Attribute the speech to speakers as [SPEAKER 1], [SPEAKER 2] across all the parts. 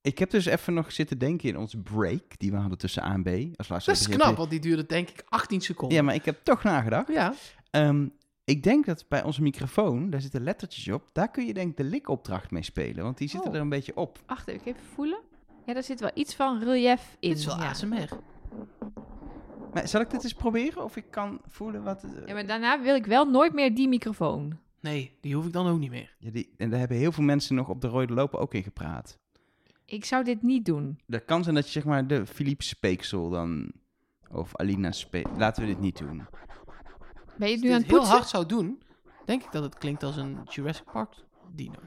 [SPEAKER 1] Ik heb dus even nog zitten denken in ons break die we hadden tussen A en B. Als laatste
[SPEAKER 2] Dat is knap, want die duurde denk ik 18 seconden.
[SPEAKER 1] Ja, maar ik heb toch nagedacht.
[SPEAKER 2] Ja.
[SPEAKER 1] Ehm, ik denk dat bij onze microfoon, daar zitten lettertjes op, daar kun je denk ik de likopdracht mee spelen. Want die zitten
[SPEAKER 2] Oh.
[SPEAKER 1] er een beetje op.
[SPEAKER 3] Wacht even, ik even voelen. Ja, daar zit wel iets van relief in.
[SPEAKER 2] Dit is wel
[SPEAKER 3] ja.
[SPEAKER 2] ASMR.
[SPEAKER 1] Maar zal ik dit eens proberen? Of ik kan voelen wat... eh,
[SPEAKER 3] Ja, maar daarna wil ik wel nooit meer die microfoon.
[SPEAKER 2] Nee, die hoef ik dan ook niet meer.
[SPEAKER 1] ja, die, en daar hebben heel veel mensen nog op de rode lopen ook in gepraat.
[SPEAKER 3] Ik zou dit niet doen.
[SPEAKER 1] Dat kan zijn dat je zeg maar de Philippe Speeksel dan... Of Alina Speeksel... Laten we dit niet doen.
[SPEAKER 3] Ben je het
[SPEAKER 2] Als
[SPEAKER 3] nu
[SPEAKER 2] je
[SPEAKER 3] aan
[SPEAKER 2] het
[SPEAKER 3] het
[SPEAKER 2] heel
[SPEAKER 3] poetsen?
[SPEAKER 2] hard zou doen, denk ik dat het klinkt als een Jurassic Park dino.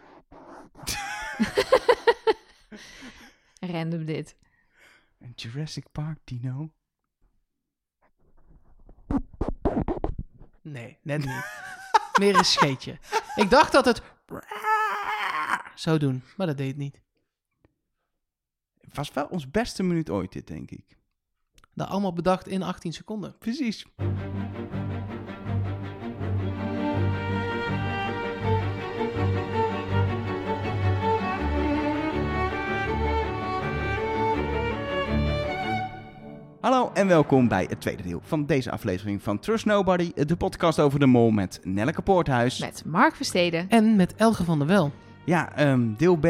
[SPEAKER 3] Random dit.
[SPEAKER 1] Een Jurassic Park dino?
[SPEAKER 2] Nee, net niet. Meer een scheetje. Ik dacht dat het zou doen, maar dat deed het niet.
[SPEAKER 1] Het was wel ons beste minuut ooit dit, denk ik.
[SPEAKER 2] Dat allemaal bedacht in 18 seconden.
[SPEAKER 1] Precies. Hallo en welkom bij het tweede deel van deze aflevering van Trust Nobody, de podcast over de mol met Nelleke Poorthuis.
[SPEAKER 3] Met Mark Versteden.
[SPEAKER 2] En met Elge van der Wel.
[SPEAKER 1] Ja, ehm, deel B,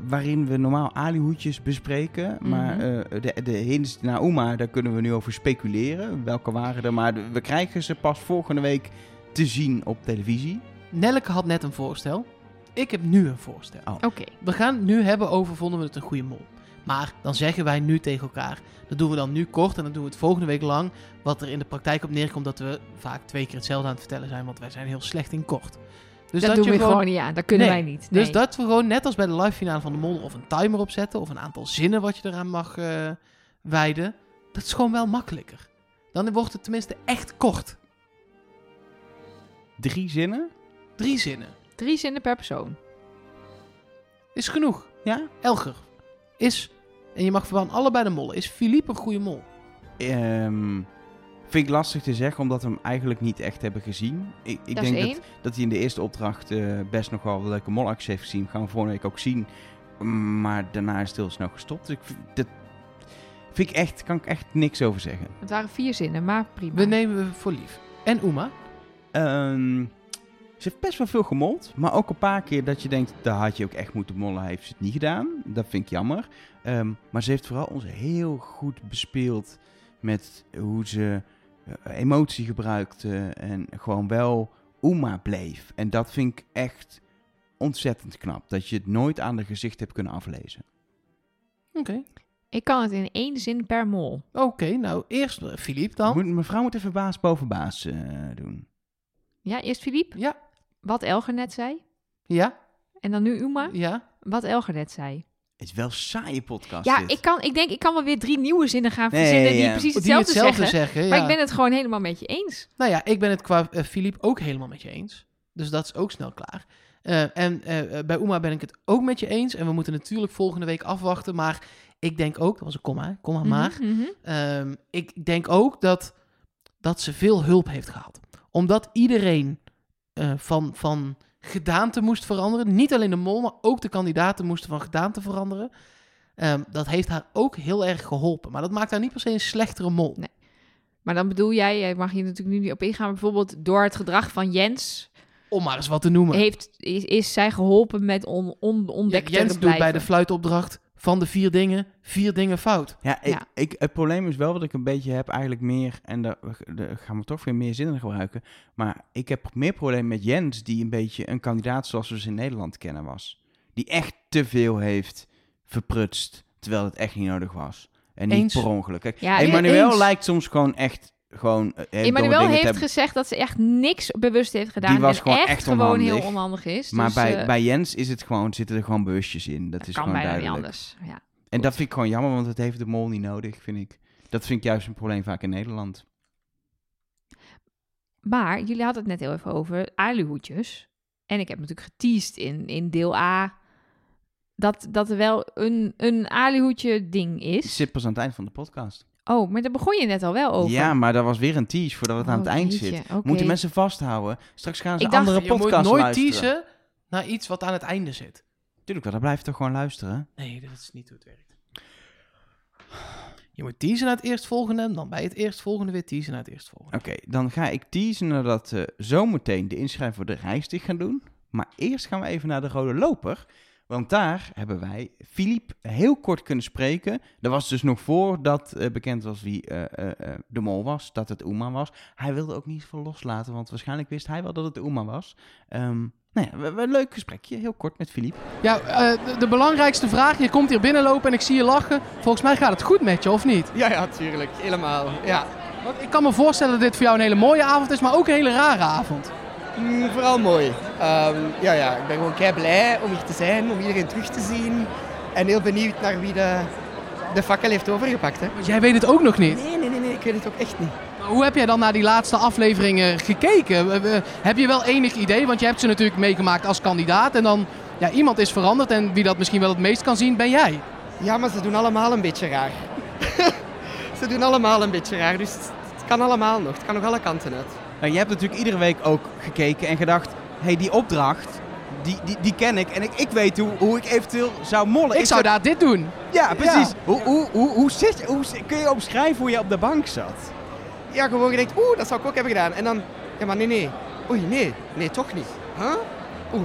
[SPEAKER 1] waarin we normaal alihoedjes bespreken, maar
[SPEAKER 3] Mhm.
[SPEAKER 1] eh, de, de hints naar Uma, daar kunnen we nu over speculeren, welke waren er, maar de- we krijgen ze pas volgende week te zien op televisie.
[SPEAKER 2] Nelleke had net een voorstel. Ik heb nu een voorstel.
[SPEAKER 1] Oh.
[SPEAKER 3] Oké.
[SPEAKER 2] We gaan het nu hebben over vonden we het een goede mol. Maar dan zeggen wij nu tegen elkaar. Dat doen we dan nu kort en dan doen we het volgende week lang. Wat er in de praktijk op neerkomt dat we vaak twee keer hetzelfde aan het vertellen zijn. Want wij zijn heel slecht in kort. Dus
[SPEAKER 3] dat, doen
[SPEAKER 2] je
[SPEAKER 3] we gewoon... niet aan. Dat kunnen
[SPEAKER 2] Nee,
[SPEAKER 3] wij niet.
[SPEAKER 2] Dus
[SPEAKER 3] Nee.
[SPEAKER 2] dat we gewoon net als bij de live finale van de mol of een timer opzetten. Of een aantal zinnen wat je eraan mag eh, wijden. Dat is gewoon wel makkelijker. Dan wordt het tenminste echt kort.
[SPEAKER 1] Drie zinnen?
[SPEAKER 2] Drie zinnen.
[SPEAKER 3] Drie zinnen per persoon.
[SPEAKER 2] Is genoeg.
[SPEAKER 1] Ja.
[SPEAKER 2] Elger is, en je mag van allebei de mollen, is Philippe een goede mol?
[SPEAKER 1] Ehm, vind ik lastig te zeggen, omdat we hem eigenlijk niet echt hebben gezien. Ik, ik
[SPEAKER 3] dat
[SPEAKER 1] denk
[SPEAKER 3] is
[SPEAKER 1] dat
[SPEAKER 3] één.
[SPEAKER 1] dat hij in de eerste opdracht eh, best nog wel leuke molacties heeft gezien. Gaan we volgende week ook zien. Maar daarna is het heel snel gestopt. Dus ik, vind- dat vind ik echt, kan ik echt niks over zeggen.
[SPEAKER 3] Het waren vier zinnen, maar prima.
[SPEAKER 2] We nemen we voor lief. En Uma?
[SPEAKER 1] Ehm, ze heeft best wel veel gemold. Maar ook een paar keer dat je denkt, daar had je ook echt moeten mollen. Heeft ze het niet gedaan. Dat vind ik jammer. Ehm, maar ze heeft vooral ons heel goed bespeeld met hoe ze eh, emotie gebruikte. En gewoon wel Uma bleef. En dat vind ik echt ontzettend knap. Dat je het nooit aan haar gezicht hebt kunnen aflezen.
[SPEAKER 2] Oké.
[SPEAKER 3] Ik kan het in één zin per mol.
[SPEAKER 2] Oké, nou eerst eh, Philippe dan.
[SPEAKER 1] Moet, mevrouw moet even baas boven baas eh, doen.
[SPEAKER 3] Ja, eerst Philippe.
[SPEAKER 2] Ja.
[SPEAKER 3] Wat Elger net zei.
[SPEAKER 2] Ja,
[SPEAKER 3] En dan nu Uma.
[SPEAKER 2] ja.
[SPEAKER 3] Wat Elger net zei.
[SPEAKER 1] Het is wel een saaie podcast
[SPEAKER 3] Ja,
[SPEAKER 1] dit.
[SPEAKER 3] ik, kan, ik denk ik kan wel weer drie nieuwe zinnen gaan
[SPEAKER 1] Nee,
[SPEAKER 3] verzinnen die
[SPEAKER 1] ja.
[SPEAKER 3] precies
[SPEAKER 2] Oh, Die
[SPEAKER 3] hetzelfde,
[SPEAKER 2] hetzelfde
[SPEAKER 3] zeggen.
[SPEAKER 2] zeggen.
[SPEAKER 3] Maar
[SPEAKER 2] ja.
[SPEAKER 3] ik ben het gewoon helemaal met je eens.
[SPEAKER 2] Nou ja, ik ben het qua eh, Philippe ook helemaal met je eens. Dus dat is ook snel klaar. Eh, en eh, eh, bij Uma ben ik het ook met je eens. En we moeten natuurlijk volgende week afwachten. Maar ik denk ook, dat was een komma, komma maar.
[SPEAKER 3] Mhm, mhm.
[SPEAKER 2] Ehm, ik denk ook dat, dat ze veel hulp heeft gehad. Omdat iedereen eh, van, van gedaante moest veranderen. Niet alleen de mol, maar ook de kandidaten moesten van gedaante veranderen. Ehm, dat heeft haar ook heel erg geholpen. Maar dat maakt haar niet per se een slechtere mol.
[SPEAKER 3] Nee. Maar dan bedoel jij, jij mag hier natuurlijk nu niet op ingaan, maar bijvoorbeeld door het gedrag van Jens
[SPEAKER 2] Om maar eens wat te noemen.
[SPEAKER 3] heeft, is, is zij geholpen met on, on, ontdekt
[SPEAKER 2] Ja, Jens
[SPEAKER 3] te
[SPEAKER 2] doet
[SPEAKER 3] blijven.
[SPEAKER 2] bij de fluitopdracht van de vier dingen, vier dingen fout.
[SPEAKER 1] Ja, ik,
[SPEAKER 3] Ja.
[SPEAKER 1] Ik, het probleem is wel dat ik een beetje heb eigenlijk meer, en daar, daar gaan we toch weer meer zinnen gebruiken, maar ik heb meer probleem met Jens, die een beetje een kandidaat zoals we ze in Nederland kennen was. Die echt te veel heeft verprutst, terwijl het echt niet nodig was. En niet
[SPEAKER 2] Eens.
[SPEAKER 1] per ongeluk. Kijk,
[SPEAKER 3] Ja, e-,
[SPEAKER 1] Emmanuel
[SPEAKER 2] eens.
[SPEAKER 1] lijkt soms gewoon echt gewoon... eh, hele domme
[SPEAKER 3] Emmanuel
[SPEAKER 1] dingen te
[SPEAKER 3] heeft
[SPEAKER 1] hebben.
[SPEAKER 3] gezegd dat ze echt niks bewust heeft gedaan.
[SPEAKER 1] Die was
[SPEAKER 3] en
[SPEAKER 1] gewoon
[SPEAKER 3] echt,
[SPEAKER 1] echt
[SPEAKER 3] gewoon heel
[SPEAKER 1] onhandig.
[SPEAKER 3] onhandig is.
[SPEAKER 1] Maar
[SPEAKER 3] dus,
[SPEAKER 1] bij,
[SPEAKER 3] eh,
[SPEAKER 1] bij Jens is het gewoon, zitten er gewoon bewustjes in. Dat, is
[SPEAKER 3] kan
[SPEAKER 1] gewoon
[SPEAKER 3] bijna
[SPEAKER 1] duidelijk.
[SPEAKER 3] niet anders. Ja.
[SPEAKER 1] En dat vind ik gewoon jammer, want het heeft de mol niet nodig, vind ik. Dat vind ik juist een probleem vaak in Nederland.
[SPEAKER 3] Maar jullie hadden het net heel even over aluhoedjes. En ik heb natuurlijk geteased in, in deel A dat, dat er wel een, een aluhoedje ding
[SPEAKER 1] Het
[SPEAKER 3] is.
[SPEAKER 1] zit pas aan het eind van de podcast.
[SPEAKER 3] Oh, maar daar begon je net al wel over.
[SPEAKER 1] Ja, maar dat was weer een tease voordat het aan het
[SPEAKER 3] Oh,
[SPEAKER 1] eind
[SPEAKER 3] jeetje,
[SPEAKER 1] zit.
[SPEAKER 3] oké.
[SPEAKER 1] Moeten mensen vasthouden. Straks gaan ze
[SPEAKER 3] Ik dacht,
[SPEAKER 1] andere
[SPEAKER 2] Je moet
[SPEAKER 1] podcasts
[SPEAKER 2] nooit
[SPEAKER 1] luisteren.
[SPEAKER 2] teasen naar iets wat aan het einde zit.
[SPEAKER 1] Tuurlijk wel, dan blijf je toch gewoon luisteren.
[SPEAKER 4] Nee, dat is niet hoe het werkt. Je moet teasen naar het eerstvolgende, dan bij het eerstvolgende weer teasen naar het eerstvolgende.
[SPEAKER 1] Oké, dan ga ik teasen nadat we zometeen de inschrijving voor de rijstig gaan doen. Maar eerst gaan we even naar de Rode Loper. Want daar hebben wij Filip heel kort kunnen spreken. Dat was dus nog voordat eh, bekend was wie eh, eh, eh, de mol was, dat het Oema was. Hij wilde ook niet veel loslaten, want waarschijnlijk wist hij wel dat het Oema was. Ehm nou ja, we- we- leuk gesprekje, heel kort met Filip.
[SPEAKER 4] Ja, eh, de, de belangrijkste vraag. Je komt hier binnenlopen en ik zie je lachen. Volgens mij gaat het goed met je, of niet?
[SPEAKER 5] Ja, ja, tuurlijk. Helemaal. Ja.
[SPEAKER 4] Want ik kan me voorstellen dat dit voor jou een hele mooie avond is, maar ook een hele rare avond.
[SPEAKER 5] Mm, vooral mooi. Ehm, ja, ja, ik ben gewoon kei blij om hier te zijn, om iedereen terug te zien. En heel benieuwd naar wie de, de fakkel heeft overgepakt. Hè.
[SPEAKER 4] Want jij weet het ook nog niet.
[SPEAKER 5] Nee, nee, nee, nee, ik weet het ook echt niet.
[SPEAKER 4] Maar hoe heb jij dan naar die laatste afleveringen gekeken? Eh, eh, Heb je wel enig idee? Want je hebt ze natuurlijk meegemaakt als kandidaat. En dan, ja, iemand is veranderd en wie dat misschien wel het meest kan zien, ben jij.
[SPEAKER 5] Ja, maar ze doen allemaal een beetje raar. ze doen allemaal een beetje raar, dus het het kan allemaal nog. Het kan nog alle kanten uit.
[SPEAKER 1] Nou, je hebt natuurlijk iedere week ook gekeken en gedacht... Hé, hey, die opdracht, die, die, die ken ik. En ik, ik weet hoe, hoe ik eventueel zou mollen.
[SPEAKER 4] Ik zou daar dit doen.
[SPEAKER 1] Ja, precies. Hoe, hoe, hoe, hoe, zit, hoe zit- kun je omschrijven hoe je op de bank zat?
[SPEAKER 5] Ja, gewoon gedacht, oeh, dat zou ik ook hebben gedaan. En dan, ja, maar nee, nee. Oei, nee. Nee, toch niet. Huh? Oeh,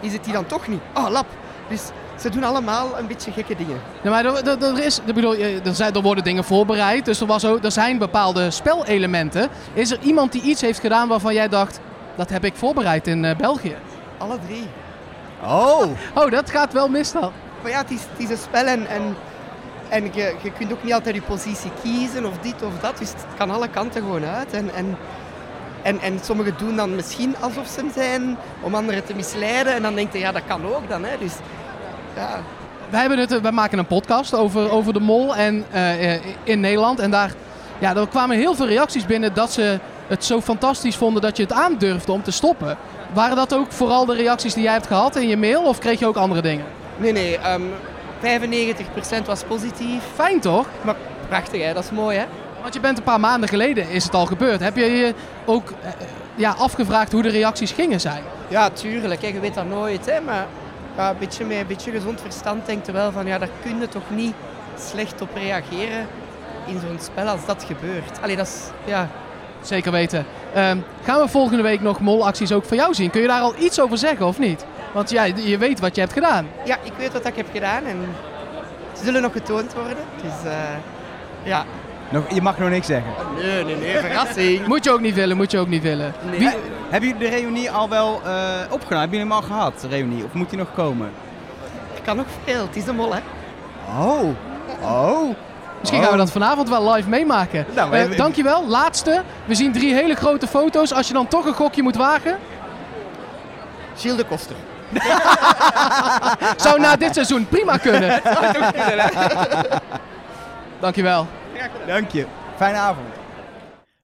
[SPEAKER 5] is het die dan toch niet? Oh, lap. Dus ze doen allemaal een beetje gekke dingen.
[SPEAKER 4] Ja, maar er, er, er is, ik bedoel, eh, er, zijn, er worden dingen voorbereid, dus er, was ook, er zijn bepaalde spelelementen. Is er iemand die iets heeft gedaan waarvan jij dacht, dat heb ik voorbereid in eh, België?
[SPEAKER 5] Alle drie.
[SPEAKER 1] Oh!
[SPEAKER 4] Oh, dat gaat wel mis dan.
[SPEAKER 5] Maar ja, het is, het is een spel en, en, en je, je kunt ook niet altijd je positie kiezen of dit of dat. Dus het kan alle kanten gewoon uit. En, en, en, en sommigen doen dan misschien alsof ze hem zijn, om anderen te misleiden. En dan denk je, ja, dat kan ook dan. Hè. Dus ja,
[SPEAKER 4] Wij, hebben het, eh, wij maken een podcast over, over de mol en, eh, eh, in Nederland. En daar ja, er kwamen heel veel reacties binnen dat ze het zo fantastisch vonden dat je het aandurfde om te stoppen. Waren dat ook vooral de reacties die jij hebt gehad in je mail of kreeg je ook andere dingen?
[SPEAKER 5] nee, nee. ehm 95% was positief.
[SPEAKER 4] Fijn toch?
[SPEAKER 5] Maar prachtig, hè? dat is mooi. Hè?
[SPEAKER 4] Want je bent een paar maanden geleden is het al gebeurd. Heb je je ook eh, ja, afgevraagd hoe de reacties gingen zijn?
[SPEAKER 5] Ja, tuurlijk. Hè. Je weet dat nooit. Hè? Maar ja, een, beetje met een beetje gezond verstand denkt er wel van, ja, daar kun je toch niet slecht op reageren in zo'n spel als dat gebeurt. Allee, dat is... Ja.
[SPEAKER 4] Zeker weten. Ehm, gaan we volgende week nog molacties ook van jou zien? Kun je daar al iets over zeggen of niet? Want jij, je weet wat je hebt gedaan.
[SPEAKER 5] Ja, ik weet wat ik heb gedaan en ze zullen nog getoond worden. Dus eh, ja.
[SPEAKER 1] Nog, je mag nog niks zeggen.
[SPEAKER 5] Nee, nee, nee, verrassing.
[SPEAKER 4] Moet je ook niet willen, moet je ook niet willen.
[SPEAKER 5] Nee.
[SPEAKER 4] Wie,
[SPEAKER 1] Eh, Hebben jullie de reunie al wel eh, opgenomen? Hebben jullie hem al gehad, de reunie? Of moet die nog komen?
[SPEAKER 5] Er kan nog veel, het is een mol hè.
[SPEAKER 1] Oh! Oh!
[SPEAKER 4] misschien gaan we dat vanavond wel live meemaken.
[SPEAKER 1] Nou, maar-
[SPEAKER 4] Eh, dankjewel. Laatste. We zien drie hele grote foto's. Als je dan toch een gokje moet wagen,
[SPEAKER 5] Gilles de Koster.
[SPEAKER 4] zou na dit seizoen prima kunnen. Dankjewel.
[SPEAKER 1] Dank je. Fijne avond.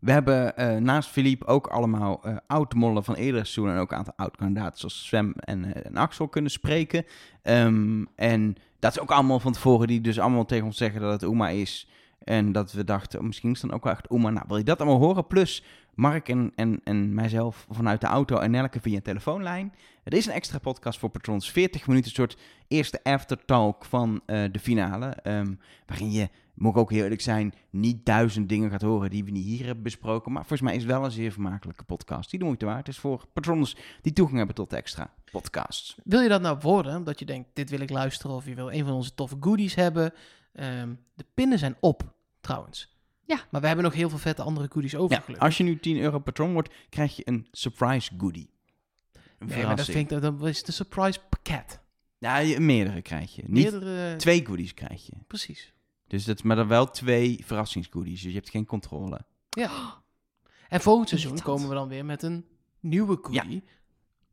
[SPEAKER 1] We hebben eh, naast Philippe ook allemaal eh oud-mollen van eerdere seizoenen en ook een aantal oud-kandidaten zoals Sven en, eh, en Axel kunnen spreken. Ehm, en dat is ook allemaal van tevoren die dus allemaal tegen ons zeggen dat het Oema is. En dat we dachten, oh, misschien is het dan ook wel echt Oema. Nou, wil je dat allemaal horen? Plus Mark en, en, en mijzelf vanuit de auto en Nelke via een telefoonlijn. Het is een extra podcast voor Patrons. 40 minuten, een soort eerste aftertalk van eh, de finale. Ehm, waarin je moet ik ook heel eerlijk zijn, niet duizend dingen gaat horen die we niet hier hebben besproken. Maar volgens mij is het wel een zeer vermakelijke podcast. Die de moeite waard is voor patrons die toegang hebben tot de extra podcasts.
[SPEAKER 4] Wil je dat nou worden? Omdat je denkt, dit wil ik luisteren of je wil een van onze toffe goodies hebben. Ehm, de pinnen zijn op, trouwens.
[SPEAKER 3] Ja.
[SPEAKER 4] Maar we hebben nog heel veel vette andere goodies over,
[SPEAKER 1] Ja,
[SPEAKER 4] gelukkig.
[SPEAKER 1] als je nu 10 euro patron wordt, krijg je een surprise goodie. Een
[SPEAKER 4] Nee, maar dat
[SPEAKER 1] verrassing.
[SPEAKER 4] vind ik, dat is de surprise pakket.
[SPEAKER 1] Ja, je- meerdere krijg je. Niet
[SPEAKER 4] Meerdere...
[SPEAKER 1] twee goodies krijg je.
[SPEAKER 4] Precies.
[SPEAKER 1] Dus dat, maar dan wel twee verrassingsgoodies. Dus je hebt geen controle.
[SPEAKER 4] Ja. En volgend seizoen
[SPEAKER 3] Irritant.
[SPEAKER 4] komen we dan weer met een nieuwe goodie.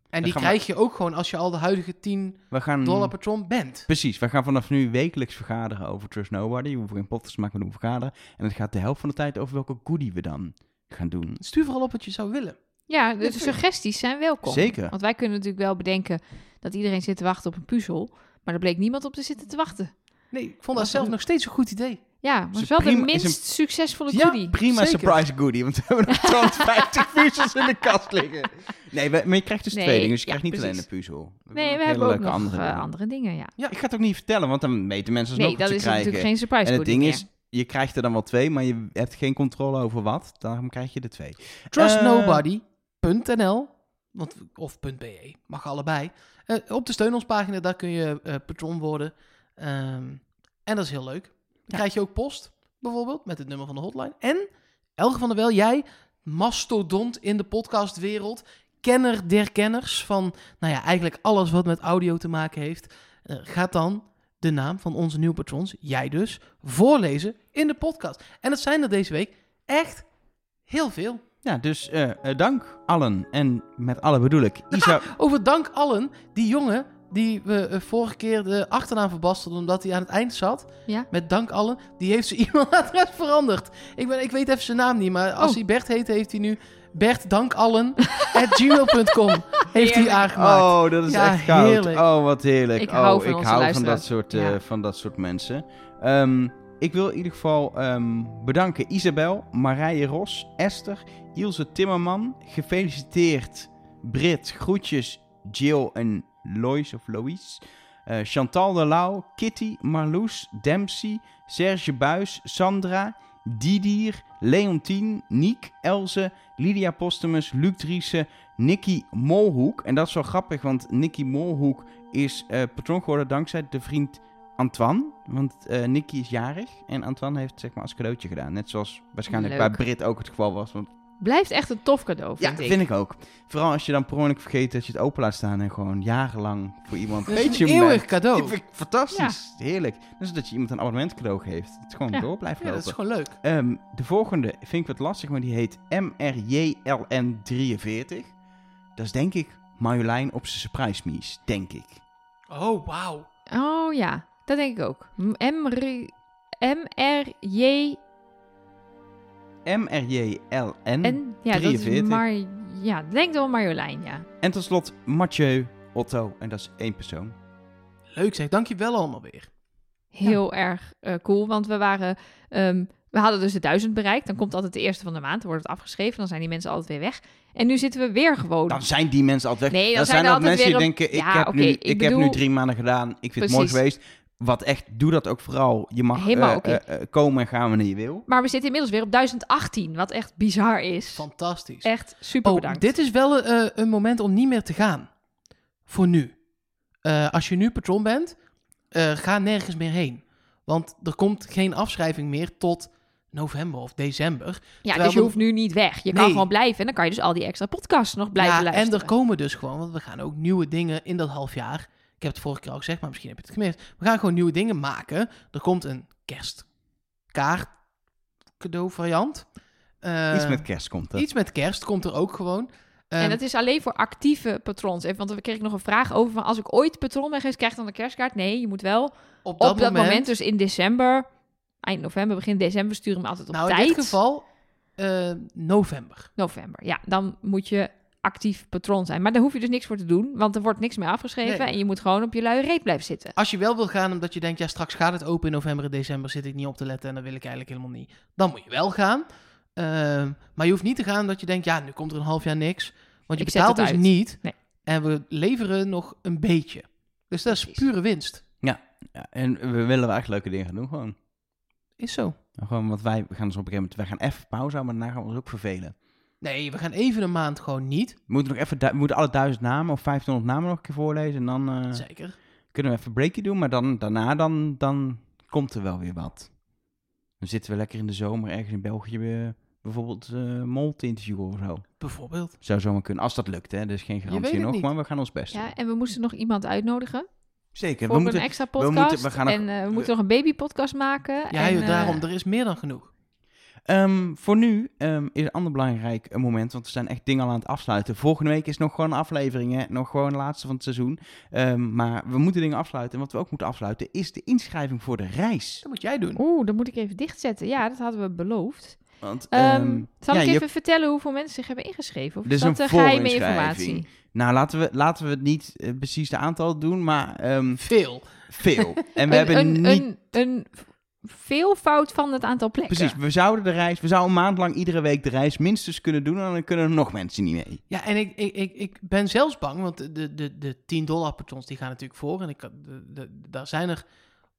[SPEAKER 4] En die
[SPEAKER 1] gaan we-
[SPEAKER 4] krijg je ook gewoon als je al de huidige 10
[SPEAKER 1] We gaan...
[SPEAKER 4] dollar patron bent.
[SPEAKER 1] Precies, we gaan vanaf nu wekelijks vergaderen over Trust Nobody. We hoeven geen podcast te maken, we doen vergaderen. En het gaat de helft van de tijd over welke goodie we dan gaan doen.
[SPEAKER 4] Stuur vooral op wat je zou willen.
[SPEAKER 3] Ja, de suggesties zijn welkom.
[SPEAKER 1] Zeker.
[SPEAKER 3] Want wij kunnen natuurlijk wel bedenken dat iedereen zit te wachten op een puzzel. Maar er bleek niemand op te zitten te wachten.
[SPEAKER 4] Nee, ik vond dat zelf nog steeds een goed idee.
[SPEAKER 3] Ja, maar het is
[SPEAKER 1] is
[SPEAKER 3] wel
[SPEAKER 1] prima-
[SPEAKER 3] de
[SPEAKER 1] is
[SPEAKER 3] minst succesvolle
[SPEAKER 2] Ja,
[SPEAKER 3] goodie.
[SPEAKER 1] Prima
[SPEAKER 2] Zeker.
[SPEAKER 1] surprise goodie, want we hebben nog 250 puzzels in de kast liggen. Nee, we- maar je krijgt dus
[SPEAKER 3] Nee,
[SPEAKER 1] twee dingen, dus je
[SPEAKER 3] ja,
[SPEAKER 1] krijgt niet alleen
[SPEAKER 3] precies.
[SPEAKER 1] de puzzel.
[SPEAKER 3] Nee,
[SPEAKER 1] ook
[SPEAKER 3] we
[SPEAKER 1] hele
[SPEAKER 3] hebben ook
[SPEAKER 1] leuke
[SPEAKER 3] nog eh, andere,
[SPEAKER 1] dingen.
[SPEAKER 3] dingen. ja.
[SPEAKER 1] Ik ga het ook niet vertellen, want dan weten mensen alsnog
[SPEAKER 3] Nee, dat
[SPEAKER 1] wat
[SPEAKER 3] is
[SPEAKER 1] ze krijgen.
[SPEAKER 3] natuurlijk geen surprise
[SPEAKER 1] en het
[SPEAKER 3] goodie
[SPEAKER 1] ding
[SPEAKER 3] meer.
[SPEAKER 1] is, je krijgt er dan wel twee, maar je hebt geen controle over wat. Daarom krijg je de twee. Eh,
[SPEAKER 2] Trustnobody.nl want- of .be, mag allebei. Eh, op de steun ons pagina, daar kun je eh, patron worden. Ehm, en dat is heel leuk. Dan krijg je ook post, bijvoorbeeld, met het nummer van de hotline. En, Elge van der Wel, jij, mastodont in de podcastwereld, kenner der kenners van, nou ja, eigenlijk alles wat met audio te maken heeft, eh, gaat dan de naam van onze nieuwe patrons, jij dus, voorlezen in de podcast. En dat zijn er deze week echt heel veel.
[SPEAKER 1] Ja, dus eh, eh, dank allen. En met alle bedoel ik Isa...
[SPEAKER 2] Over dank allen, die jongen die we eh, vorige keer de achternaam verbastelden omdat hij aan het eind zat.
[SPEAKER 3] Ja.
[SPEAKER 2] Met dank allen, die heeft zijn e-mailadres veranderd. Ik, ben, ik weet even zijn naam niet, maar als
[SPEAKER 3] Oh.
[SPEAKER 2] hij Bert heet, heeft hij nu bertdankallen at gmail.com heeft hij
[SPEAKER 3] Heerlijk.
[SPEAKER 2] aangemaakt.
[SPEAKER 1] Oh, dat is
[SPEAKER 2] Ja,
[SPEAKER 1] echt goud.
[SPEAKER 2] heerlijk.
[SPEAKER 1] Oh, wat heerlijk.
[SPEAKER 3] Ik
[SPEAKER 1] oh,
[SPEAKER 3] hou van
[SPEAKER 1] ik
[SPEAKER 3] onze
[SPEAKER 1] hou van
[SPEAKER 3] luisteraars.
[SPEAKER 1] dat, soort, eh,
[SPEAKER 3] Ja.
[SPEAKER 1] van dat soort mensen. Ehm, ik wil in ieder geval ehm, bedanken Isabel, Marije Ros, Esther, Ilse Timmerman. Gefeliciteerd Brit. Groetjes Jill en Lois of Lois. Eh, Chantal de Lauw, Kitty, Marloes, Dempsey, Serge Buis, Sandra, Didier, Leontien, Niek, Elze, Lydia Postumus, Luc Driessen, Nicky Molhoek. En dat is wel grappig, want Nicky Molhoek is eh patroon geworden dankzij de vriend Antoine. Want eh Nicky is jarig en Antoine heeft het zeg maar als cadeautje gedaan. Net zoals waarschijnlijk
[SPEAKER 3] Leuk.
[SPEAKER 1] bij Brit ook het geval was. Want
[SPEAKER 3] Blijft echt een tof cadeau, vind ik.
[SPEAKER 1] vind ik ook. Vooral als je dan per ongeluk vergeet dat je het open laat staan en gewoon jarenlang voor iemand
[SPEAKER 2] Dat is
[SPEAKER 1] weet je
[SPEAKER 2] een
[SPEAKER 1] hem
[SPEAKER 2] eeuwig
[SPEAKER 1] bent.
[SPEAKER 2] cadeau.
[SPEAKER 1] Ik vind het fantastisch. Heerlijk. Dus dat je iemand een abonnement cadeau geeft. Het gewoon
[SPEAKER 3] Ja.
[SPEAKER 1] door blijft
[SPEAKER 2] Ja,
[SPEAKER 1] lopen.
[SPEAKER 2] dat is gewoon leuk.
[SPEAKER 1] Ehm, de volgende vind ik wat lastig, maar die heet MRJLN43. Dat is denk ik Marjolein op zijn surprise mies, denk ik.
[SPEAKER 2] Oh, wauw.
[SPEAKER 3] Oh ja, dat denk ik ook. M-R-J...
[SPEAKER 1] MRJLN. En,
[SPEAKER 3] En ja, dat is
[SPEAKER 1] 43.
[SPEAKER 3] Mar... Ja, denk dan Marjolein, ja.
[SPEAKER 1] tot slot Mathieu Otto. En dat is één persoon.
[SPEAKER 2] Leuk zeg, dankjewel allemaal weer.
[SPEAKER 3] Heel erg eh, cool, want we waren... ehm, we hadden dus de duizend bereikt. Dan komt altijd de eerste van de maand. Dan wordt het afgeschreven. Dan zijn die mensen altijd weer weg. En nu zitten we weer gewoon.
[SPEAKER 1] Dan zijn die mensen altijd weg.
[SPEAKER 3] Nee, dan
[SPEAKER 1] dan
[SPEAKER 3] zijn
[SPEAKER 1] zijn
[SPEAKER 3] er
[SPEAKER 1] ook
[SPEAKER 3] altijd
[SPEAKER 1] mensen die
[SPEAKER 3] weer een-
[SPEAKER 1] denken, ik,
[SPEAKER 3] Ja,
[SPEAKER 1] heb, nu,
[SPEAKER 3] oké,
[SPEAKER 1] ik,
[SPEAKER 3] ik
[SPEAKER 1] heb nu
[SPEAKER 3] bedoel-
[SPEAKER 1] drie maanden gedaan. Ik vind het mooi
[SPEAKER 3] Precies.
[SPEAKER 1] geweest. Wat echt, doe dat ook vooral. Je mag
[SPEAKER 3] Helemaal
[SPEAKER 1] eh,
[SPEAKER 3] oké.
[SPEAKER 1] eh, eh, komen en gaan wanneer je wil.
[SPEAKER 3] Maar we zitten inmiddels weer op 1018, wat echt bizar is.
[SPEAKER 2] Fantastisch.
[SPEAKER 3] Echt super
[SPEAKER 2] oh,
[SPEAKER 3] bedankt.
[SPEAKER 2] Dit is wel eh, een moment om niet meer te gaan. Voor nu. Eh, als je nu patron bent, eh, ga nergens meer heen. Want er komt geen afschrijving meer tot november of december.
[SPEAKER 3] ja,
[SPEAKER 2] terwijl
[SPEAKER 3] dus je
[SPEAKER 2] we-
[SPEAKER 3] hoeft nu niet weg.
[SPEAKER 2] Nee.
[SPEAKER 3] Je kan gewoon blijven en dan kan je dus al die extra podcasts nog blijven
[SPEAKER 2] ja,
[SPEAKER 3] luisteren.
[SPEAKER 2] en er komen dus gewoon, want we gaan ook nieuwe dingen in dat half jaar. Ik heb het vorige keer al gezegd, maar misschien heb je het gemist. We gaan gewoon nieuwe dingen maken. Er komt een kerstkaart cadeau variant. Eh,
[SPEAKER 1] Iets met kerst komt er.
[SPEAKER 2] iets met kerst komt er ook gewoon.
[SPEAKER 3] En
[SPEAKER 2] Ehm,
[SPEAKER 3] dat is alleen voor actieve patrons. Even, want dan kreeg ik nog een vraag over van als ik ooit patron ben geweest, krijg ik dan een kerstkaart? Nee, je moet wel op
[SPEAKER 2] op
[SPEAKER 3] dat, moment, dus in december, eind november, begin december, sturen we hem altijd op
[SPEAKER 2] nou,
[SPEAKER 3] tijd.
[SPEAKER 2] in dit geval eh, november.
[SPEAKER 3] November, ja. Dan moet je actief patron zijn. Maar daar hoef je dus niks voor te doen, want er wordt niks meer afgeschreven
[SPEAKER 2] Nee.
[SPEAKER 3] en je moet gewoon op je luie reet blijven zitten.
[SPEAKER 2] Als je wel wil gaan omdat je denkt, ja, straks gaat het open in november en december, zit ik niet op te letten en dat wil ik eigenlijk helemaal niet. Dan moet je wel gaan. Ehm, maar je hoeft niet te gaan omdat je denkt, ja, nu komt er een half jaar niks. Want je
[SPEAKER 3] Ik zet
[SPEAKER 2] betaalt
[SPEAKER 3] het
[SPEAKER 2] dus
[SPEAKER 3] uit.
[SPEAKER 2] niet.
[SPEAKER 3] Nee.
[SPEAKER 2] En we leveren nog een beetje. Dus dat is
[SPEAKER 3] Precies.
[SPEAKER 2] pure winst.
[SPEAKER 1] Ja, en we willen wel echt leuke dingen gaan doen gewoon.
[SPEAKER 2] Is zo.
[SPEAKER 1] Nou, Gewoon, want wij we gaan dus op een gegeven moment, wij gaan even pauze houden, maar daarna gaan we ons ook vervelen.
[SPEAKER 2] Nee, we gaan even een maand gewoon niet.
[SPEAKER 1] We moeten, nog even, du- we moeten alle duizend namen of 1500 namen nog een keer voorlezen en dan eh,
[SPEAKER 2] Zeker.
[SPEAKER 1] kunnen we even een breakje doen, maar dan, daarna dan, dan komt er wel weer wat. Dan zitten we lekker in de zomer ergens in België eh, bijvoorbeeld eh mol te interviewen of zo.
[SPEAKER 2] Bijvoorbeeld.
[SPEAKER 1] Zou zomaar kunnen, als dat lukt hè, dus geen
[SPEAKER 2] weet
[SPEAKER 1] garantie
[SPEAKER 2] het
[SPEAKER 1] nog,
[SPEAKER 2] niet.
[SPEAKER 1] maar we gaan ons best doen.
[SPEAKER 3] Ja, en we moesten nog iemand uitnodigen.
[SPEAKER 1] Zeker,
[SPEAKER 3] voor
[SPEAKER 1] we
[SPEAKER 3] een
[SPEAKER 1] moeten,
[SPEAKER 3] extra
[SPEAKER 1] moeten-
[SPEAKER 3] podcast.
[SPEAKER 1] we gaan ook-
[SPEAKER 3] en eh, we
[SPEAKER 1] we-
[SPEAKER 3] moeten nog een babypodcast maken.
[SPEAKER 2] Ja,
[SPEAKER 3] en,
[SPEAKER 2] joh,
[SPEAKER 3] eh,
[SPEAKER 2] daarom, er is meer dan genoeg.
[SPEAKER 1] Ehm, voor nu ehm, is een ander belangrijk eh, moment, want we zijn echt dingen al aan het afsluiten. Volgende week is nog gewoon een aflevering, hè? nog gewoon de laatste van het seizoen. Ehm, maar we moeten dingen afsluiten. En wat we ook moeten afsluiten is de inschrijving voor de reis.
[SPEAKER 2] Dus Dat moet jij doen.
[SPEAKER 3] Oeh, dat moet ik even dichtzetten. Ja, dat hadden we beloofd.
[SPEAKER 1] Want
[SPEAKER 3] Ehm,
[SPEAKER 1] ehm,
[SPEAKER 3] zal
[SPEAKER 1] ja,
[SPEAKER 3] ik
[SPEAKER 1] je-
[SPEAKER 3] even vertellen hoeveel mensen zich hebben ingeschreven? Of
[SPEAKER 1] Dit is
[SPEAKER 3] dat
[SPEAKER 1] een
[SPEAKER 3] eh, geheime
[SPEAKER 1] voorinschrijving.
[SPEAKER 3] informatie?
[SPEAKER 1] nou, laten we, laten we het niet eh, precies de aantal doen, maar ehm,
[SPEAKER 2] Veel.
[SPEAKER 1] veel. En we hebben
[SPEAKER 3] een,
[SPEAKER 1] niet...
[SPEAKER 3] een, een veel fout van het aantal plekken.
[SPEAKER 1] Precies, we zouden de reis, we zouden een maand lang iedere week de reis minstens kunnen doen. En dan kunnen er nog mensen niet mee.
[SPEAKER 2] Ja, en ik, ik, ik, ik ben zelfs bang, want de, de, de 10 dollar patrons die gaan natuurlijk voor. En ik, de, de- daar zijn er
[SPEAKER 1] En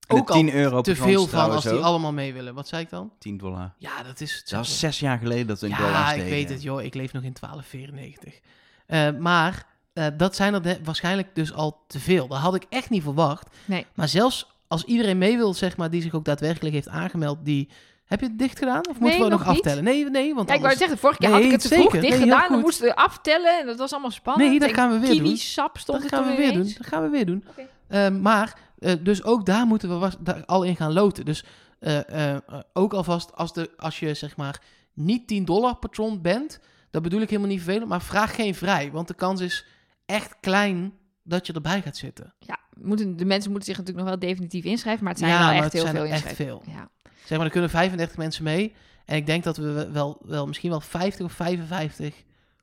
[SPEAKER 1] de
[SPEAKER 2] ook
[SPEAKER 1] 10
[SPEAKER 2] al
[SPEAKER 1] euro
[SPEAKER 2] te
[SPEAKER 1] patrons
[SPEAKER 2] veel van
[SPEAKER 1] trouwens
[SPEAKER 2] als die
[SPEAKER 1] ook.
[SPEAKER 2] allemaal mee willen. Wat zei ik dan?
[SPEAKER 1] 10 dollar.
[SPEAKER 2] Ja, dat is
[SPEAKER 1] Dat was zes jaar geleden dat we in
[SPEAKER 2] Ja,
[SPEAKER 1] dollars
[SPEAKER 2] ik
[SPEAKER 1] deden.
[SPEAKER 2] weet het joh, ik leef nog in 1294. Eh, maar eh, dat zijn er de- waarschijnlijk dus al te veel. Dat had ik echt niet verwacht.
[SPEAKER 3] Nee.
[SPEAKER 2] Maar zelfs als iedereen mee wil, zeg maar, die zich ook daadwerkelijk heeft aangemeld, die... Heb je het dicht gedaan? Of moeten
[SPEAKER 3] Nee,
[SPEAKER 2] we nog,
[SPEAKER 3] nog niet.
[SPEAKER 2] aftellen? Nee, nee, want
[SPEAKER 3] Ja, ik wou
[SPEAKER 2] anders-
[SPEAKER 3] zeggen, vorige keer had
[SPEAKER 2] Nee,
[SPEAKER 3] ik het te vroeg
[SPEAKER 2] zeker.
[SPEAKER 3] dicht
[SPEAKER 2] Nee, heel
[SPEAKER 3] gedaan. Dan
[SPEAKER 2] goed.
[SPEAKER 3] moesten we aftellen en dat was allemaal spannend.
[SPEAKER 2] Nee, dat
[SPEAKER 3] En
[SPEAKER 2] gaan we weer
[SPEAKER 3] kiwi
[SPEAKER 2] doen.
[SPEAKER 3] sap stond
[SPEAKER 2] Dat
[SPEAKER 3] er
[SPEAKER 2] gaan we
[SPEAKER 3] toen
[SPEAKER 2] weer doen.
[SPEAKER 3] ineens.
[SPEAKER 2] Dat gaan we weer doen.
[SPEAKER 3] Oké.
[SPEAKER 2] Eh, maar, eh, dus ook daar moeten we was- daar al in gaan loten. Dus eh, eh, eh, ook alvast als, de, als je zeg maar niet 10 dollar patron bent, dat bedoel ik helemaal niet vervelend, maar vraag geen vrij. Want de kans is echt klein dat je erbij gaat zitten.
[SPEAKER 3] Ja, moeten, de mensen moeten zich natuurlijk nog wel definitief inschrijven, maar het zijn
[SPEAKER 2] Ja,
[SPEAKER 3] wel
[SPEAKER 2] maar
[SPEAKER 3] echt
[SPEAKER 2] het
[SPEAKER 3] heel
[SPEAKER 2] zijn er
[SPEAKER 3] veel
[SPEAKER 2] echt
[SPEAKER 3] inschrijven.
[SPEAKER 2] veel.
[SPEAKER 3] Ja.
[SPEAKER 2] Zeg maar, er kunnen 35 mensen mee. En ik denk dat we wel, wel misschien wel 50 of 55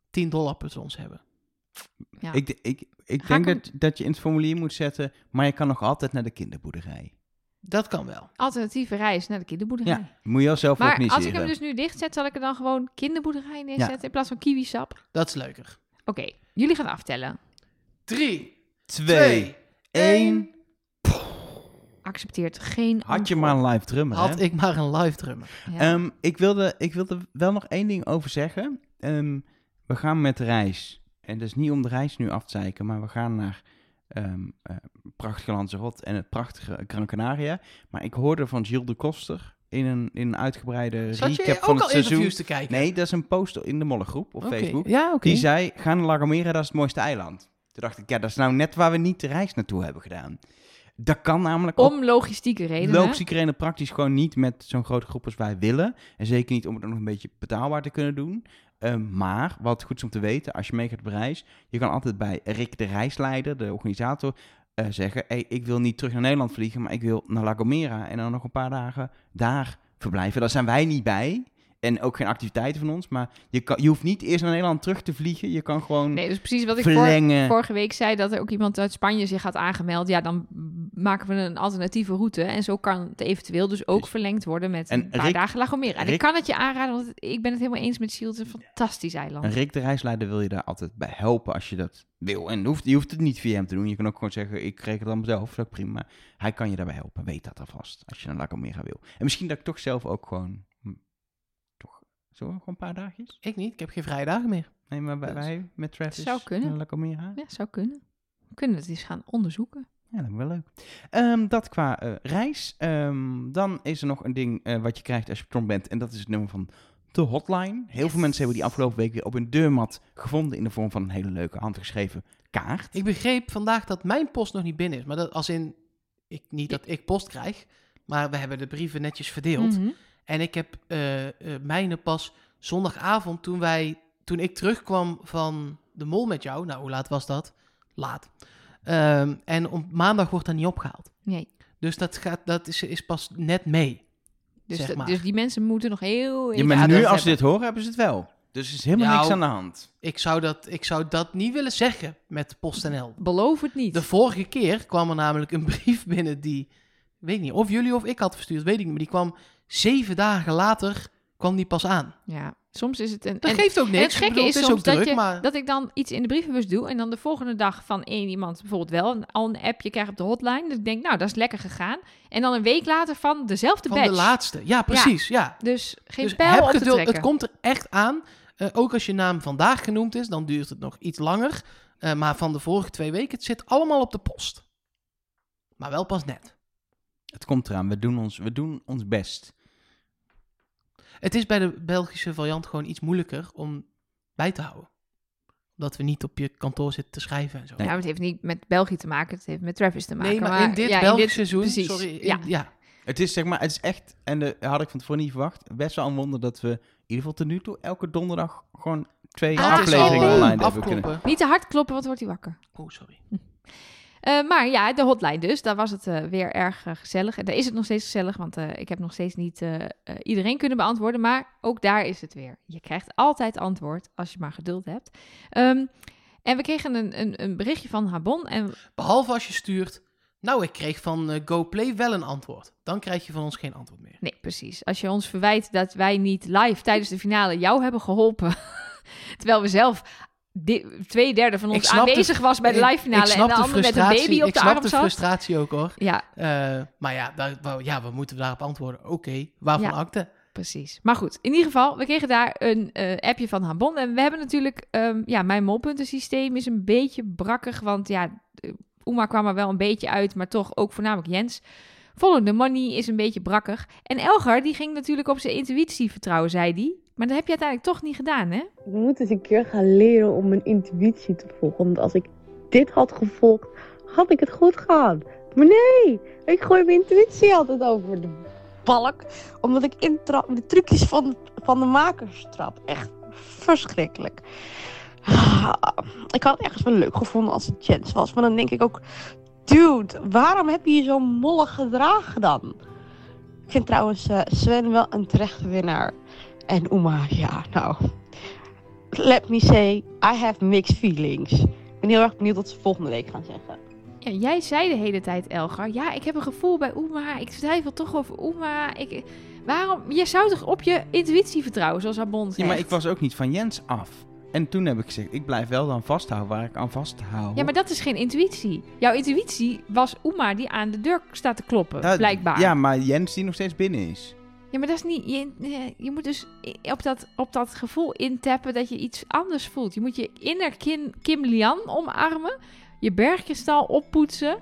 [SPEAKER 2] 10 dollar patrons hebben.
[SPEAKER 3] Ja.
[SPEAKER 1] Ik, ik, ik
[SPEAKER 3] Ga
[SPEAKER 1] denk
[SPEAKER 3] ik
[SPEAKER 1] dat,
[SPEAKER 3] hem-
[SPEAKER 1] dat je in het formulier moet zetten, maar je kan nog altijd naar de kinderboerderij.
[SPEAKER 2] Dat kan wel.
[SPEAKER 3] Alternatieve reis naar de kinderboerderij.
[SPEAKER 1] Ja, moet je al zelf
[SPEAKER 3] maar
[SPEAKER 1] organiseren.
[SPEAKER 3] als
[SPEAKER 2] eh.
[SPEAKER 3] ik hem dus nu dicht zet, zal ik er dan gewoon kinderboerderij neerzetten in plaats van kiwisap. Oké,
[SPEAKER 2] Dat is leuker.
[SPEAKER 3] jullie gaan aftellen.
[SPEAKER 2] 3,
[SPEAKER 1] Twee,
[SPEAKER 2] 2,
[SPEAKER 1] één.
[SPEAKER 2] 1.
[SPEAKER 3] Accepteert geen
[SPEAKER 1] Had je
[SPEAKER 3] antwoord.
[SPEAKER 1] maar een live drummer, hè?
[SPEAKER 2] Had ik maar een live drummer.
[SPEAKER 3] Ja.
[SPEAKER 1] Ehm, ik, wilde, ik wilde wel nog één ding over zeggen. Ehm, we gaan met de reis. En dat is niet om de reis nu af te zeiken, maar we gaan naar ehm eh, prachtige Lanzarote en het prachtige Gran Canaria. Maar ik hoorde van Gilles de Koster in een, in een uitgebreide
[SPEAKER 2] Zat
[SPEAKER 1] recap
[SPEAKER 2] je ook
[SPEAKER 1] van
[SPEAKER 2] al
[SPEAKER 1] het seizoen.
[SPEAKER 2] interviews te kijken?
[SPEAKER 1] Nee, dat is een post in de Molle groep op
[SPEAKER 2] Oké.
[SPEAKER 1] Facebook.
[SPEAKER 2] Ja, oké.
[SPEAKER 1] Die zei, ga naar La Gomera, dat is het mooiste eiland. Toen dacht ik, ja, dat is nou net waar we niet de reis naartoe hebben gedaan. Dat kan namelijk ook
[SPEAKER 3] Om logistieke redenen.
[SPEAKER 1] Logische redenen praktisch gewoon niet met zo'n grote groep als wij willen. En zeker niet om het ook nog een beetje betaalbaar te kunnen doen. Ehm, maar wat goed is om te weten, als je mee gaat op reis, je kan altijd bij Rick de reisleider, de organisator, eh, zeggen: hey, ik wil niet terug naar Nederland vliegen, maar ik wil naar La Gomera en dan nog een paar dagen daar verblijven. Daar zijn wij niet bij. En ook geen activiteiten van ons. Maar je, kan, je hoeft niet eerst naar Nederland terug te vliegen. Je kan gewoon
[SPEAKER 3] Nee, dus precies wat ik voor,
[SPEAKER 1] verlengen.
[SPEAKER 3] vorige week zei dat er ook iemand uit Spanje zich had aangemeld. Ja, dan maken we een alternatieve route. En zo kan het eventueel dus ook
[SPEAKER 1] Dus-
[SPEAKER 3] verlengd worden met
[SPEAKER 1] En
[SPEAKER 3] een paar
[SPEAKER 1] Rick-
[SPEAKER 3] dagen La Gomera. En ik
[SPEAKER 1] Rick-
[SPEAKER 3] kan het je aanraden, want ik ben het helemaal eens met Shield. Het is een fantastisch eiland.
[SPEAKER 1] En Rick de reisleider wil je daar altijd bij helpen als je dat wil. En hoeft, je hoeft het niet via hem te doen. Je kan ook gewoon zeggen, ik kreeg het dan mezelf. Dat is ook prima. Maar hij kan je daarbij helpen. Weet dat alvast. Als je naar La Gomera wil. En misschien dat ik toch zelf ook gewoon... hm, toch, zo gewoon een paar dagjes?
[SPEAKER 2] Ik niet, ik heb geen vrije dagen meer.
[SPEAKER 1] Nee, maar bij,
[SPEAKER 3] Dat
[SPEAKER 1] wij met Travis
[SPEAKER 3] zou kunnen.
[SPEAKER 1] naar La Gomera.
[SPEAKER 3] Ja, zou kunnen. We kunnen het eens gaan onderzoeken.
[SPEAKER 1] Ja, dat is wel leuk. Ehm, dat qua eh, reis. Ehm, dan is er nog een ding eh, wat je krijgt als je patron bent. En dat is het nummer van de hotline. Heel veel mensen hebben die afgelopen week weer op hun deurmat gevonden. In de vorm van een hele leuke handgeschreven kaart.
[SPEAKER 2] Ik begreep vandaag dat mijn post nog niet binnen is. Maar dat, als in, ik, niet dat ik post krijg, maar we hebben de brieven netjes verdeeld.
[SPEAKER 3] Mhm.
[SPEAKER 2] En ik heb eh, eh, mijne pas zondagavond toen wij, toen ik terugkwam van de mol met jou. Nou, hoe laat was dat? Laat. Ehm, en op maandag wordt dat niet opgehaald.
[SPEAKER 3] Nee.
[SPEAKER 2] Dus dat, gaat, dat is, is pas net mee.
[SPEAKER 3] Dus,
[SPEAKER 2] Zeg
[SPEAKER 3] dat-
[SPEAKER 2] maar.
[SPEAKER 3] dus die mensen moeten nog heel...
[SPEAKER 1] Ja,
[SPEAKER 3] even
[SPEAKER 1] maar
[SPEAKER 2] Ja,
[SPEAKER 1] nu
[SPEAKER 2] dat
[SPEAKER 1] als ze dit horen, hebben ze het wel. Dus er is helemaal
[SPEAKER 2] Nou.
[SPEAKER 1] niks aan de hand.
[SPEAKER 2] Ik zou, dat, ik zou dat niet willen zeggen met PostNL.
[SPEAKER 3] Beloof het niet.
[SPEAKER 2] De vorige keer kwam er namelijk een brief binnen die, weet ik niet, of jullie of ik had verstuurd, weet ik niet, maar die kwam zeven dagen later, kwam die pas aan.
[SPEAKER 3] Ja, soms is het een...
[SPEAKER 2] Dat
[SPEAKER 3] en-
[SPEAKER 2] geeft ook niks.
[SPEAKER 3] En het
[SPEAKER 2] Ik
[SPEAKER 3] gekke
[SPEAKER 2] bedoel,
[SPEAKER 3] is,
[SPEAKER 2] het
[SPEAKER 3] soms
[SPEAKER 2] ook
[SPEAKER 3] dat,
[SPEAKER 2] druk,
[SPEAKER 3] je,
[SPEAKER 2] maar
[SPEAKER 3] dat ik dan iets in de brievenbus doe... en dan de volgende dag van één iemand bijvoorbeeld wel... een- al een appje krijg op de hotline. Dus ik denk, nou, dat is lekker gegaan. En dan een week later van dezelfde
[SPEAKER 2] van
[SPEAKER 3] batch.
[SPEAKER 2] de laatste. Ja, precies, ja.
[SPEAKER 3] Dus geen
[SPEAKER 2] Dus
[SPEAKER 3] pijl
[SPEAKER 2] heb
[SPEAKER 3] op te
[SPEAKER 2] geduld,
[SPEAKER 3] trekken.
[SPEAKER 2] het komt er echt aan. Eh, ook als je naam vandaag genoemd is, dan duurt het nog iets langer. Eh, maar van de vorige twee weken, het zit allemaal op de post. Maar wel pas net.
[SPEAKER 1] Het komt eraan. We doen ons, we doen ons best.
[SPEAKER 2] Het is bij de Belgische variant gewoon iets moeilijker om bij te houden. Omdat we niet op je kantoor zitten te schrijven en zo.
[SPEAKER 3] Ja, maar Nou, het heeft niet met België te maken. Het heeft met Travis te maken.
[SPEAKER 2] Nee, maar, in dit
[SPEAKER 3] ja,
[SPEAKER 2] Belgisch seizoen,
[SPEAKER 3] precies,
[SPEAKER 2] sorry, in-
[SPEAKER 3] ja.
[SPEAKER 2] ja.
[SPEAKER 1] Het is zeg maar, het is echt, en dat had ik van tevoren niet verwacht, best wel een wonder dat we in ieder geval tot nu toe elke donderdag gewoon twee
[SPEAKER 3] Ah,
[SPEAKER 1] afleveringen
[SPEAKER 3] afkloppen.
[SPEAKER 1] online hebben
[SPEAKER 2] Afkloppen.
[SPEAKER 1] kunnen.
[SPEAKER 3] Niet te hard kloppen, want dan wordt hij wakker.
[SPEAKER 2] Oh, sorry.
[SPEAKER 3] Eh, maar ja, de hotline dus. Daar was het eh, weer erg eh, gezellig. En daar is het nog steeds gezellig, want eh, ik heb nog steeds niet eh, eh, iedereen kunnen beantwoorden. Maar ook daar is het weer. Je krijgt altijd antwoord als je maar geduld hebt. Ehm, en we kregen een, een, een berichtje van Habon. En
[SPEAKER 2] Behalve als je stuurt, Nou, ik kreeg van eh, GoPlay wel een antwoord. Dan krijg je van ons geen antwoord meer.
[SPEAKER 3] Nee, precies. Als je ons verwijt dat wij niet live tijdens de finale jou hebben geholpen. terwijl we zelf di- twee derde van
[SPEAKER 2] Ik
[SPEAKER 3] ons
[SPEAKER 2] snap de-
[SPEAKER 3] aanwezig was bij de
[SPEAKER 2] Ik-
[SPEAKER 3] live finale.
[SPEAKER 2] ik
[SPEAKER 3] en
[SPEAKER 2] snap
[SPEAKER 3] de
[SPEAKER 2] de
[SPEAKER 3] ander met een
[SPEAKER 2] frustratie.
[SPEAKER 3] baby op
[SPEAKER 2] ik
[SPEAKER 3] de
[SPEAKER 2] snap
[SPEAKER 3] arm
[SPEAKER 2] de
[SPEAKER 3] zat.
[SPEAKER 2] frustratie ook hoor.
[SPEAKER 3] Ja,
[SPEAKER 2] Eh, maar ja, daar, wou- ja, we moeten daarop antwoorden. Oké, waarvan
[SPEAKER 3] Ja.
[SPEAKER 2] acte?
[SPEAKER 3] precies. Maar goed, in ieder geval, we kregen daar een eh, appje van Hambon. En we hebben natuurlijk, ehm, ja, mijn molpuntensysteem is een beetje brakkig. Want ja, eh, Oema kwam er wel een beetje uit, maar toch ook voornamelijk Jens. Follow the money is een beetje brakkig. En Elgar, die ging natuurlijk op zijn intuïtie vertrouwen, zei die. Maar dat heb je uiteindelijk toch niet gedaan, hè?
[SPEAKER 6] Ik moet eens een keer gaan leren om mijn intuïtie te volgen. Want als ik dit had gevolgd, had ik het goed gehad. Maar nee, ik gooi mijn intuïtie altijd over de balk. Omdat ik intrap met de trucjes van, van de makers trap. Echt verschrikkelijk. Ah, Ik had het ergens wel leuk gevonden als het Jens was. Maar dan denk ik ook, dude, waarom heb je je zo mollig gedragen dan? Ik vind trouwens eh, Sven wel een terechte winnaar. En Oema, ja, nou, let me say, I have mixed feelings. Ik ben heel erg benieuwd wat ze volgende week gaan zeggen.
[SPEAKER 3] Ja, jij zei de hele tijd, Elgar, ja, ik heb een gevoel bij Oema. Ik twijfel toch over Oema. Ik, waarom? Je zou toch op je intuïtie vertrouwen, zoals Abon
[SPEAKER 1] Ja,
[SPEAKER 3] zegt.
[SPEAKER 1] maar ik was ook niet van Jens af. En toen heb ik gezegd, ik blijf wel dan vasthouden waar ik aan vasthoud.
[SPEAKER 3] Ja, maar dat is geen intuïtie. Jouw intuïtie was Oema die aan de deur staat te kloppen,
[SPEAKER 1] Dat-
[SPEAKER 3] blijkbaar.
[SPEAKER 1] Nou, Ja, maar Jens die nog steeds binnen is.
[SPEAKER 3] Ja, maar dat is niet... Je, eh, je moet dus i- op dat, op dat gevoel intappen dat je iets anders voelt. Je moet je inner Kim, Kim Lian omarmen, je bergkristal oppoetsen...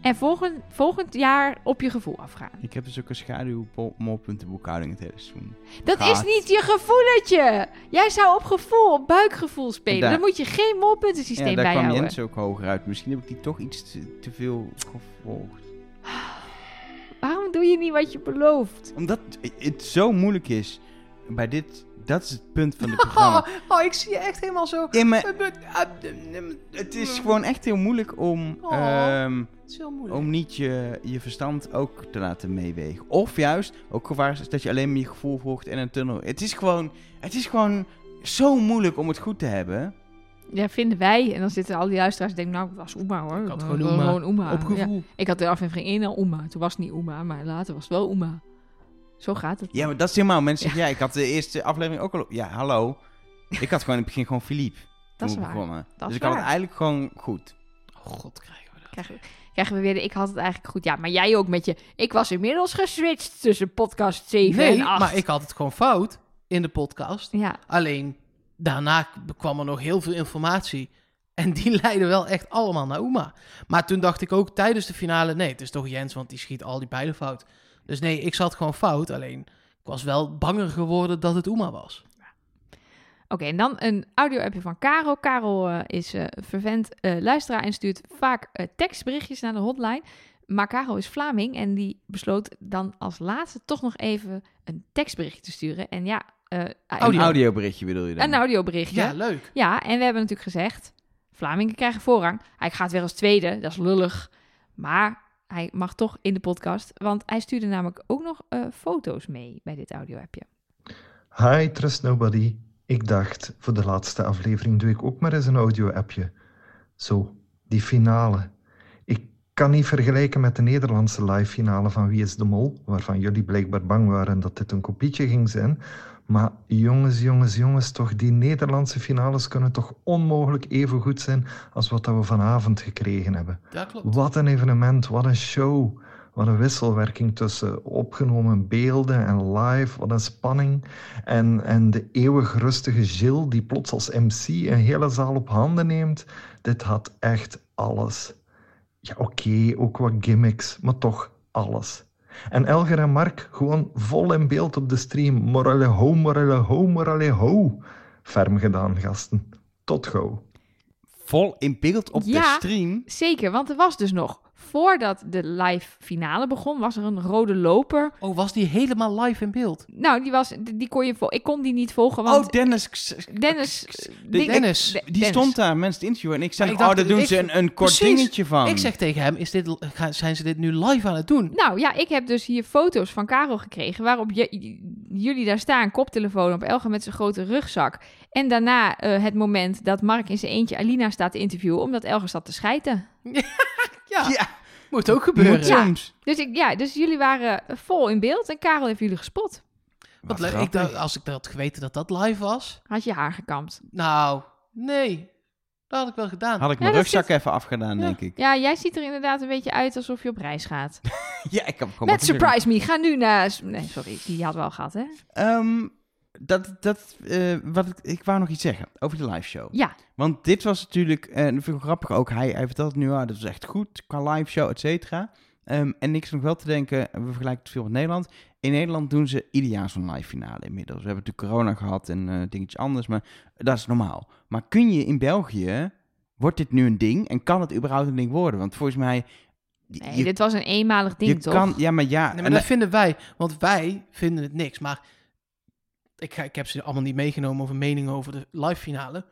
[SPEAKER 3] en volgend, volgend jaar op je gevoel afgaan.
[SPEAKER 1] Ik heb dus ook een schaduwmolpuntenboekhouding het hele seizoen.
[SPEAKER 3] Dat is
[SPEAKER 1] Gaat.
[SPEAKER 3] niet je gevoeletje. Jij zou op gevoel, op buikgevoel spelen.
[SPEAKER 1] Daar-
[SPEAKER 3] Dan moet je geen molpuntensysteem
[SPEAKER 1] ja, daar kwam
[SPEAKER 3] bijhouden.
[SPEAKER 1] Jens ook hoger uit. Misschien heb ik die toch iets te, te veel gevolgd.
[SPEAKER 3] Waarom doe je niet wat je belooft?
[SPEAKER 1] Omdat het zo moeilijk is bij dit... Dat is het punt van dit programma.
[SPEAKER 2] oh, ik zie je echt helemaal zo.
[SPEAKER 1] Ja, maar het is gewoon echt heel moeilijk om...
[SPEAKER 2] Oh.
[SPEAKER 1] ehm,
[SPEAKER 2] Het is heel moeilijk.
[SPEAKER 1] om niet je, je verstand ook te laten meewegen. Of juist, ook gevaar is dat je alleen maar je gevoel volgt en een tunnel. Het is gewoon, het is gewoon zo moeilijk om het goed te hebben.
[SPEAKER 3] Ja, vinden wij. En dan zitten al die luisteraars en denken, nou, het was Oema hoor.
[SPEAKER 2] Ik had
[SPEAKER 3] Eh,
[SPEAKER 2] gewoon Oema.
[SPEAKER 3] Oema.
[SPEAKER 2] Op
[SPEAKER 3] Ja.
[SPEAKER 2] gevoel.
[SPEAKER 3] Ik had de aflevering 1 al Oema. nou, Toen was het niet Oema, maar later was het wel Oema. Zo gaat het.
[SPEAKER 1] Ja, maar dat is helemaal. Mensen zeggen, ja, ik had de eerste aflevering ook al... op- Ja, hallo. Ik had gewoon in het begin gewoon Philippe.
[SPEAKER 3] Dat is
[SPEAKER 1] toen we
[SPEAKER 3] waar.
[SPEAKER 1] begonnen. dus
[SPEAKER 3] Dat is
[SPEAKER 1] ik had het
[SPEAKER 3] waar.
[SPEAKER 1] eigenlijk gewoon goed.
[SPEAKER 2] Oh god, krijgen we dat.
[SPEAKER 3] Krijgen we, krijgen we weer de ik had het eigenlijk goed. Ja, maar jij ook met je... Ik was inmiddels geswitcht tussen podcast 7
[SPEAKER 2] Nee,
[SPEAKER 3] en 8.
[SPEAKER 2] maar ik had het gewoon fout in de podcast.
[SPEAKER 3] Ja,
[SPEAKER 2] Alleen daarna k- kwam er nog heel veel informatie. En die leidde wel echt allemaal naar Oema. Maar toen dacht ik ook tijdens de finale: nee, het is toch Jens, want die schiet al die pijlen fout. Dus nee, ik zat gewoon fout. Alleen ik was wel banger geworden dat het Oema was.
[SPEAKER 3] Oké, en dan een audio-appje van Karel. Karel eh, is eh vervent eh, luisteraar en stuurt vaak eh, tekstberichtjes naar de hotline. Maar Karel is Vlaming en die besloot dan als laatste toch nog even een tekstberichtje te sturen. En ja, eh,
[SPEAKER 1] Een
[SPEAKER 2] Audio.
[SPEAKER 1] audioberichtje bedoel je dan?
[SPEAKER 3] een audioberichtje.
[SPEAKER 2] Ja,
[SPEAKER 3] Ja.
[SPEAKER 2] leuk.
[SPEAKER 3] en we hebben natuurlijk gezegd, Vlamingen krijgen voorrang. Hij gaat weer als tweede, dat is lullig. Maar hij mag toch in de podcast, want hij stuurde namelijk ook nog eh, foto's mee bij dit audio-appje.
[SPEAKER 7] Hi, Trust Nobody. Ik dacht, voor de laatste aflevering doe ik ook maar eens een audio-appje. Zo, die finale. Ik kan niet vergelijken met de Nederlandse live-finale van Wie is de Mol, waarvan jullie blijkbaar bang waren dat dit een kopietje ging zijn. Maar jongens, jongens, jongens, toch, die Nederlandse finales kunnen toch onmogelijk even goed zijn als wat dat we vanavond gekregen hebben.
[SPEAKER 2] Dat klopt.
[SPEAKER 7] Wat een evenement, wat een show. Wat een wisselwerking tussen opgenomen beelden en live, wat een spanning. En, en de eeuwig rustige Jill die plots als MC een hele zaal op handen neemt. Dit had echt alles. Ja, oké, ook wat gimmicks, maar toch alles. En Elger en Mark gewoon vol in beeld op de stream. Morale ho, morale ho, morale ho. Ferm gedaan, gasten. Tot gauw.
[SPEAKER 1] Vol in beeld op de
[SPEAKER 3] Ja.
[SPEAKER 1] stream.
[SPEAKER 3] Zeker, want er was dus nog, voordat de live finale begon, was er een rode loper.
[SPEAKER 2] Oh, was die helemaal live in beeld?
[SPEAKER 3] Nou, die, was, die die kon je vol- ik kon die niet volgen, want
[SPEAKER 1] oh, Dennis. Dennis.
[SPEAKER 3] Dennis...
[SPEAKER 1] die-
[SPEAKER 2] Dennis,
[SPEAKER 3] De-
[SPEAKER 1] Die
[SPEAKER 3] Dennis.
[SPEAKER 1] stond daar mensen te interviewen. En ik zei,
[SPEAKER 2] Maar ik dacht,
[SPEAKER 1] oh, daar doen
[SPEAKER 2] ik-
[SPEAKER 1] ze een, een kort
[SPEAKER 2] precies.
[SPEAKER 1] dingetje van.
[SPEAKER 2] Ik zeg tegen hem: is dit, l- ga- zijn ze dit nu live aan het doen?
[SPEAKER 3] Nou ja, ik heb dus hier foto's van Karel gekregen, waarop je- j- jullie daar staan, koptelefoon op Elga met zijn grote rugzak. En daarna eh, het moment dat Mark in zijn eentje Alina staat te interviewen, omdat Elga zat te schijten.
[SPEAKER 2] Ja.
[SPEAKER 1] Ja,
[SPEAKER 2] Moet ook
[SPEAKER 1] Moet
[SPEAKER 2] gebeuren.
[SPEAKER 3] Ja.
[SPEAKER 1] soms.
[SPEAKER 3] Dus, ik, ja, dus jullie waren vol in beeld en Karel heeft jullie gespot.
[SPEAKER 2] Wat
[SPEAKER 1] Wat
[SPEAKER 2] leuk. Ik
[SPEAKER 1] grappig.
[SPEAKER 2] dacht, als ik had geweten dat dat live was.
[SPEAKER 3] Had je haar gekamd.
[SPEAKER 2] Nou, nee. Dat had ik wel gedaan.
[SPEAKER 1] Had ik
[SPEAKER 3] Ja,
[SPEAKER 1] mijn
[SPEAKER 3] dat
[SPEAKER 1] rugzak
[SPEAKER 3] zit-
[SPEAKER 1] even afgedaan,
[SPEAKER 2] Ja.
[SPEAKER 1] denk ik.
[SPEAKER 3] Ja, jij ziet er inderdaad een beetje uit alsof je op reis gaat.
[SPEAKER 1] Ja, ik heb gewoon
[SPEAKER 3] Met
[SPEAKER 1] wat gezien.
[SPEAKER 3] Surprise Me, ga nu naar... Nee, sorry, die had wel gehad, hè?
[SPEAKER 1] Ehm, dat, dat, eh, wat ik, ik wou nog iets zeggen over de live show.
[SPEAKER 3] Ja,
[SPEAKER 1] Want dit was natuurlijk, eh, en dat vind ik grappig ook, hij, hij vertelt het nu, ah, dat was echt goed qua live show, et cetera. Ehm, en niks nog wel te denken, we vergelijken het veel met Nederland. In Nederland doen ze ieder jaar zo'n live finale inmiddels. We hebben natuurlijk corona gehad en eh dingetjes anders, maar dat is normaal. Maar kun je in België, wordt dit nu een ding en kan het überhaupt een ding worden? Want volgens mij... je-
[SPEAKER 3] nee,
[SPEAKER 1] je,
[SPEAKER 3] dit was een eenmalig ding,
[SPEAKER 1] je
[SPEAKER 3] toch?
[SPEAKER 1] kan, ja, maar ja.
[SPEAKER 2] Nee, maar
[SPEAKER 1] Ah, en
[SPEAKER 2] dat
[SPEAKER 1] dat-
[SPEAKER 2] vinden wij. Want wij vinden het niks. Maar ik, ga, ik heb ze allemaal niet meegenomen over meningen over de live finale.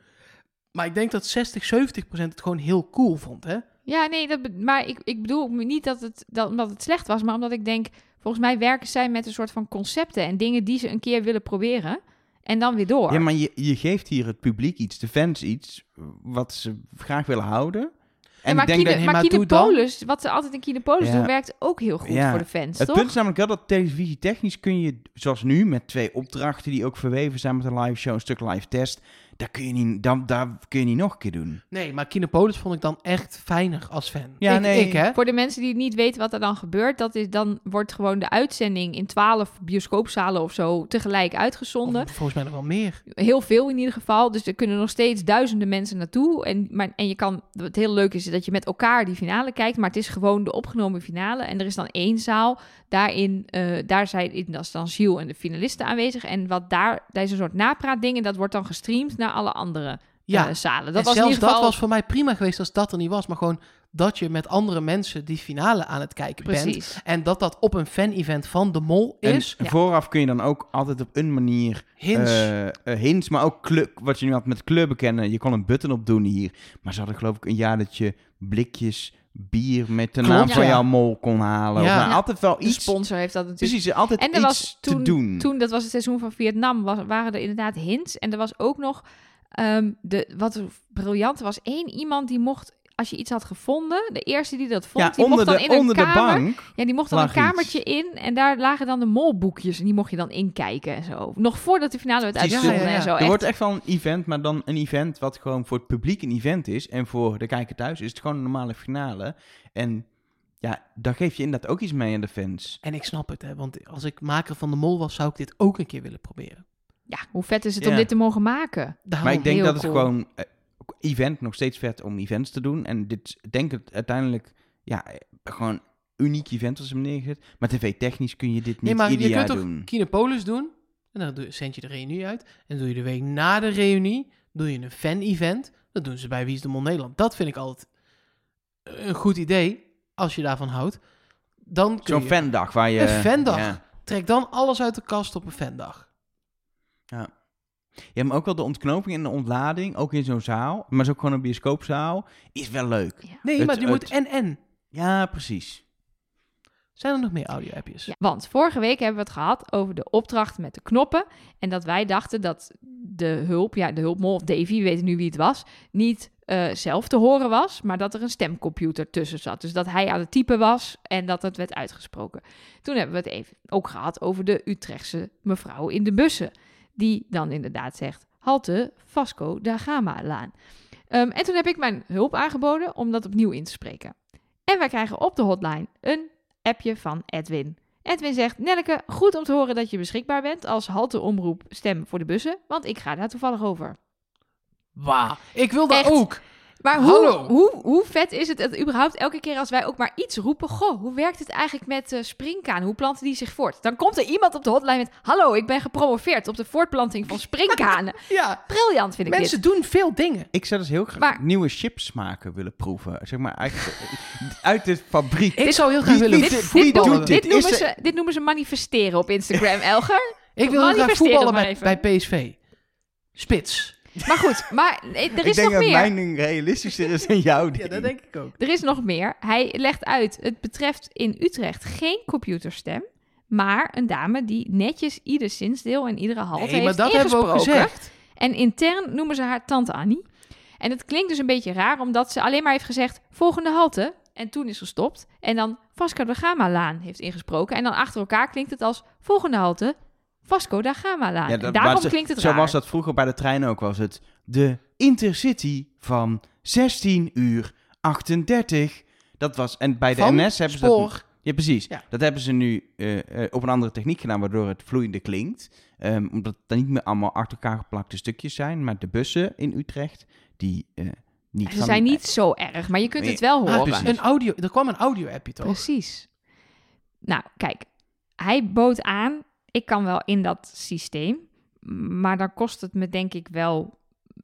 [SPEAKER 2] Maar ik denk dat 60, 70 procent het gewoon heel cool vond, hè?
[SPEAKER 3] Ja, nee, dat, be- maar ik, ik bedoel niet dat het, dat, omdat het slecht was, maar omdat ik denk, volgens mij werken zij met een soort van concepten en dingen die ze een keer willen proberen en dan weer door.
[SPEAKER 1] Ja, maar je, je geeft hier het publiek iets, de fans iets, wat ze graag willen houden.
[SPEAKER 3] En maar Kine,
[SPEAKER 2] dat-
[SPEAKER 3] maar
[SPEAKER 2] maar doe dan.
[SPEAKER 3] Kinepolis, wat ze altijd in Kinepolis
[SPEAKER 1] Ja.
[SPEAKER 3] doen, werkt ook heel goed
[SPEAKER 1] Ja.
[SPEAKER 3] voor de fans,
[SPEAKER 1] Het
[SPEAKER 3] toch?
[SPEAKER 1] punt is namelijk wel dat televisietechnisch kun je, zoals nu, met twee opdrachten die ook verweven zijn met een live show, een stuk live test, daar kun je niet, dan, daar kun je niet nog een keer doen.
[SPEAKER 2] Nee, maar Kinepolis vond ik dan echt fijner als fan.
[SPEAKER 1] Ja,
[SPEAKER 2] ik,
[SPEAKER 1] nee.
[SPEAKER 2] Ik, hè?
[SPEAKER 3] Voor de mensen die niet weten wat er dan gebeurt, dat is, dan wordt gewoon de uitzending in twaalf bioscoopzalen of zo tegelijk uitgezonden.
[SPEAKER 2] Of Volgens mij nog wel meer.
[SPEAKER 3] Heel veel in ieder geval. Dus er kunnen nog steeds duizenden mensen naartoe. En, maar, en je kan, wat heel leuk is, is dat je met elkaar die finale kijkt. Maar het is gewoon de opgenomen finale. En er is dan één zaal. Daarin, eh, daar zijn in dat is dan Giel en de finalisten aanwezig. En wat daar, daar is een soort napraatding. En dat wordt dan gestreamd naar alle andere
[SPEAKER 2] Ja.
[SPEAKER 3] eh, zalen.
[SPEAKER 2] en
[SPEAKER 3] Dat was in
[SPEAKER 2] zelfs
[SPEAKER 3] ieder geval...
[SPEAKER 2] dat was voor mij prima geweest als dat er niet was. Maar gewoon dat je met andere mensen die finale aan het kijken bent.
[SPEAKER 3] Precies.
[SPEAKER 2] En dat dat op een fan-event van De Mol
[SPEAKER 1] En
[SPEAKER 2] is.
[SPEAKER 3] ja.
[SPEAKER 1] vooraf kun je dan ook altijd op een manier
[SPEAKER 2] Dus, Hints.
[SPEAKER 1] eh, eh, hints, maar ook club, wat je nu had met kleur bekennen. Je kon een button op doen hier, maar ze hadden geloof ik een jaar dat je blikjes bier met de
[SPEAKER 2] Klopt,
[SPEAKER 1] naam van
[SPEAKER 2] ja.
[SPEAKER 1] jouw mol kon halen.
[SPEAKER 2] Ja.
[SPEAKER 1] Of, nou,
[SPEAKER 3] Ja.
[SPEAKER 1] altijd wel
[SPEAKER 3] De
[SPEAKER 1] iets.
[SPEAKER 3] sponsor heeft dat natuurlijk.
[SPEAKER 1] Precies, altijd
[SPEAKER 3] Dus- En er
[SPEAKER 1] iets
[SPEAKER 3] was toen,
[SPEAKER 1] te doen.
[SPEAKER 3] toen, dat was het seizoen van Vietnam, was, waren er inderdaad hints. En er was ook nog, ehm, de, wat briljant was, één iemand die mocht, als je iets had gevonden, de eerste die dat vond,
[SPEAKER 1] ja,
[SPEAKER 3] die
[SPEAKER 1] onder
[SPEAKER 3] mocht dan
[SPEAKER 1] de,
[SPEAKER 3] in een
[SPEAKER 1] onder de
[SPEAKER 3] kamer. Oh,
[SPEAKER 1] bank.
[SPEAKER 3] ja, die mocht dan een
[SPEAKER 1] lag iets.
[SPEAKER 3] kamertje in en daar lagen dan de molboekjes. En die mocht je dan inkijken en zo. Nog voordat de finale werd
[SPEAKER 1] Precies,
[SPEAKER 3] uitgezonden
[SPEAKER 2] ja, ja,
[SPEAKER 3] en
[SPEAKER 2] ja.
[SPEAKER 3] zo.
[SPEAKER 1] Er
[SPEAKER 3] Echt.
[SPEAKER 1] wordt echt wel een event, maar dan een event wat gewoon voor het publiek een event is. En voor de kijker thuis is het gewoon een normale finale. En ja, daar geef je inderdaad ook iets mee aan de fans.
[SPEAKER 2] En ik snap het, hè? Want als ik maker van De Mol was, zou ik dit ook een keer willen proberen.
[SPEAKER 3] Ja, hoe vet is het
[SPEAKER 1] Ja.
[SPEAKER 3] om dit te mogen maken?
[SPEAKER 1] maar
[SPEAKER 2] Daarom-
[SPEAKER 1] ik denk
[SPEAKER 3] Oh, heel
[SPEAKER 1] dat het
[SPEAKER 3] cool.
[SPEAKER 1] gewoon eh, event nog steeds vet om events te doen. En dit ik denk het uiteindelijk ja, eh, gewoon een uniek event als ze hem neergezet. Maar tv-technisch kun je dit niet
[SPEAKER 2] Nee, maar
[SPEAKER 1] ieder
[SPEAKER 2] je kunt
[SPEAKER 1] jaar
[SPEAKER 2] toch
[SPEAKER 1] doen.
[SPEAKER 2] Kinepolis doen? En dan doe je- zend je de reunie uit. En doe je de week na de reunie, doe je een fan-event. Dat doen ze bij Wie is de Mol Nederland. Dat vind ik altijd een goed idee, als je daarvan houdt. Dan kun
[SPEAKER 1] Zo'n
[SPEAKER 2] je...
[SPEAKER 1] fandag waar je...
[SPEAKER 2] Een fandag.
[SPEAKER 1] Ja.
[SPEAKER 2] Trek dan alles uit de kast op een fandag.
[SPEAKER 1] ja, maar ook wel de ontknoping en de ontlading, ook in zo'n zaal. Maar is ook gewoon een bioscoopzaal, is wel leuk.
[SPEAKER 2] Nee,
[SPEAKER 1] Het-
[SPEAKER 2] maar die
[SPEAKER 1] het-
[SPEAKER 2] moet en-en.
[SPEAKER 1] Ja, precies.
[SPEAKER 2] Zijn er nog meer audio-appjes?
[SPEAKER 3] Ja, want vorige week hebben we het gehad over de opdracht met de knoppen. En dat wij dachten dat de hulp, ja, de hulpmol of Davy, we weten nu wie het was, niet eh, zelf te horen was, maar dat er een stemcomputer tussen zat. Dus dat hij aan het typen was en dat het werd uitgesproken. Toen hebben we het even ook gehad over de Utrechtse mevrouw in de bussen. Die dan inderdaad zegt, halte Vasco da Gama-laan. Ehm, en toen heb ik mijn hulp aangeboden om dat opnieuw in te spreken. En wij krijgen op de hotline een appje van Edwin. Edwin zegt: Nelke, goed om te horen dat je beschikbaar bent als halteomroep stem voor de bussen, want ik ga daar toevallig over.
[SPEAKER 2] Waar? Ik wil dat
[SPEAKER 3] Echt?
[SPEAKER 2] ook.
[SPEAKER 3] Maar hoe,
[SPEAKER 2] Hallo.
[SPEAKER 3] Hoe, hoe vet is het dat überhaupt elke keer als wij ook maar iets roepen: Goh, hoe werkt het eigenlijk met eh, springkaan? Hoe planten die zich voort? Dan komt er iemand op de hotline met: Hallo, ik ben gepromoveerd op de voortplanting van springkanen.
[SPEAKER 2] Ja,
[SPEAKER 3] Briljant vind ik dit.
[SPEAKER 2] mensen doen veel dingen.
[SPEAKER 1] Ik zou dus heel graag
[SPEAKER 3] Maar-
[SPEAKER 1] nieuwe chipsmaken willen proeven. Zeg maar, eigenlijk uit de fabriek.
[SPEAKER 2] Ik zou heel graag
[SPEAKER 1] Wie-
[SPEAKER 2] willen
[SPEAKER 1] wie-
[SPEAKER 3] dit,
[SPEAKER 1] wie
[SPEAKER 3] noemen-
[SPEAKER 1] doet
[SPEAKER 3] dit
[SPEAKER 1] dit?
[SPEAKER 3] noemen
[SPEAKER 1] Is
[SPEAKER 3] ze, dit noemen ze manifesteren op Instagram, Elger.
[SPEAKER 2] Ik wil heel graag
[SPEAKER 3] Manifesteer dat
[SPEAKER 2] voetballen
[SPEAKER 3] maar
[SPEAKER 2] bij, bij
[SPEAKER 3] even.
[SPEAKER 2] PSV. Spits.
[SPEAKER 3] Maar goed, maar, eh, er
[SPEAKER 1] ik
[SPEAKER 3] is
[SPEAKER 1] denk
[SPEAKER 3] nog
[SPEAKER 1] dat
[SPEAKER 3] meer.
[SPEAKER 1] mijn ding realistischer is dan jouw ding.
[SPEAKER 2] ik ook.
[SPEAKER 3] Er is nog meer. Hij legt uit: het betreft in Utrecht geen computerstem. Maar een dame die netjes ieder zinsdeel en iedere halte
[SPEAKER 2] Nee, maar
[SPEAKER 3] heeft
[SPEAKER 2] dat hebben we ook
[SPEAKER 3] ingesproken.
[SPEAKER 2] gezegd.
[SPEAKER 3] En intern noemen ze haar tante Annie. En het klinkt dus een beetje raar, omdat ze alleen maar heeft gezegd: volgende halte. En toen is gestopt. En dan Vasco da Gama-laan heeft ingesproken. En dan achter elkaar klinkt het als volgende halte Vasco da Gama-laan.
[SPEAKER 1] Ja,
[SPEAKER 3] En
[SPEAKER 1] dat-
[SPEAKER 3] Daarom
[SPEAKER 1] maar ze-
[SPEAKER 3] klinkt het
[SPEAKER 1] Zo
[SPEAKER 3] raar.
[SPEAKER 1] was dat vroeger bij de trein ook, was het de Intercity van 16 uur 38. Dat was, en bij de
[SPEAKER 2] Van
[SPEAKER 1] NS hebben ze dat...
[SPEAKER 2] spoor.
[SPEAKER 1] Ja, precies.
[SPEAKER 2] Ja.
[SPEAKER 1] Dat hebben ze nu eh, eh, op een andere techniek gedaan, waardoor het vloeiende klinkt. Ehm, omdat het dan niet meer allemaal achter elkaar geplakte stukjes zijn, maar de bussen in Utrecht, die eh, niet
[SPEAKER 3] Ze
[SPEAKER 1] van-
[SPEAKER 3] zijn niet zo erg, maar je kunt
[SPEAKER 1] Nee,
[SPEAKER 3] het wel
[SPEAKER 1] maar
[SPEAKER 3] horen.
[SPEAKER 1] Ah, precies.
[SPEAKER 2] Een audio, er kwam een audio-appje toch?
[SPEAKER 3] Precies. Nou, kijk, hij bood aan, ik kan wel in dat systeem, maar dan kost het me denk ik wel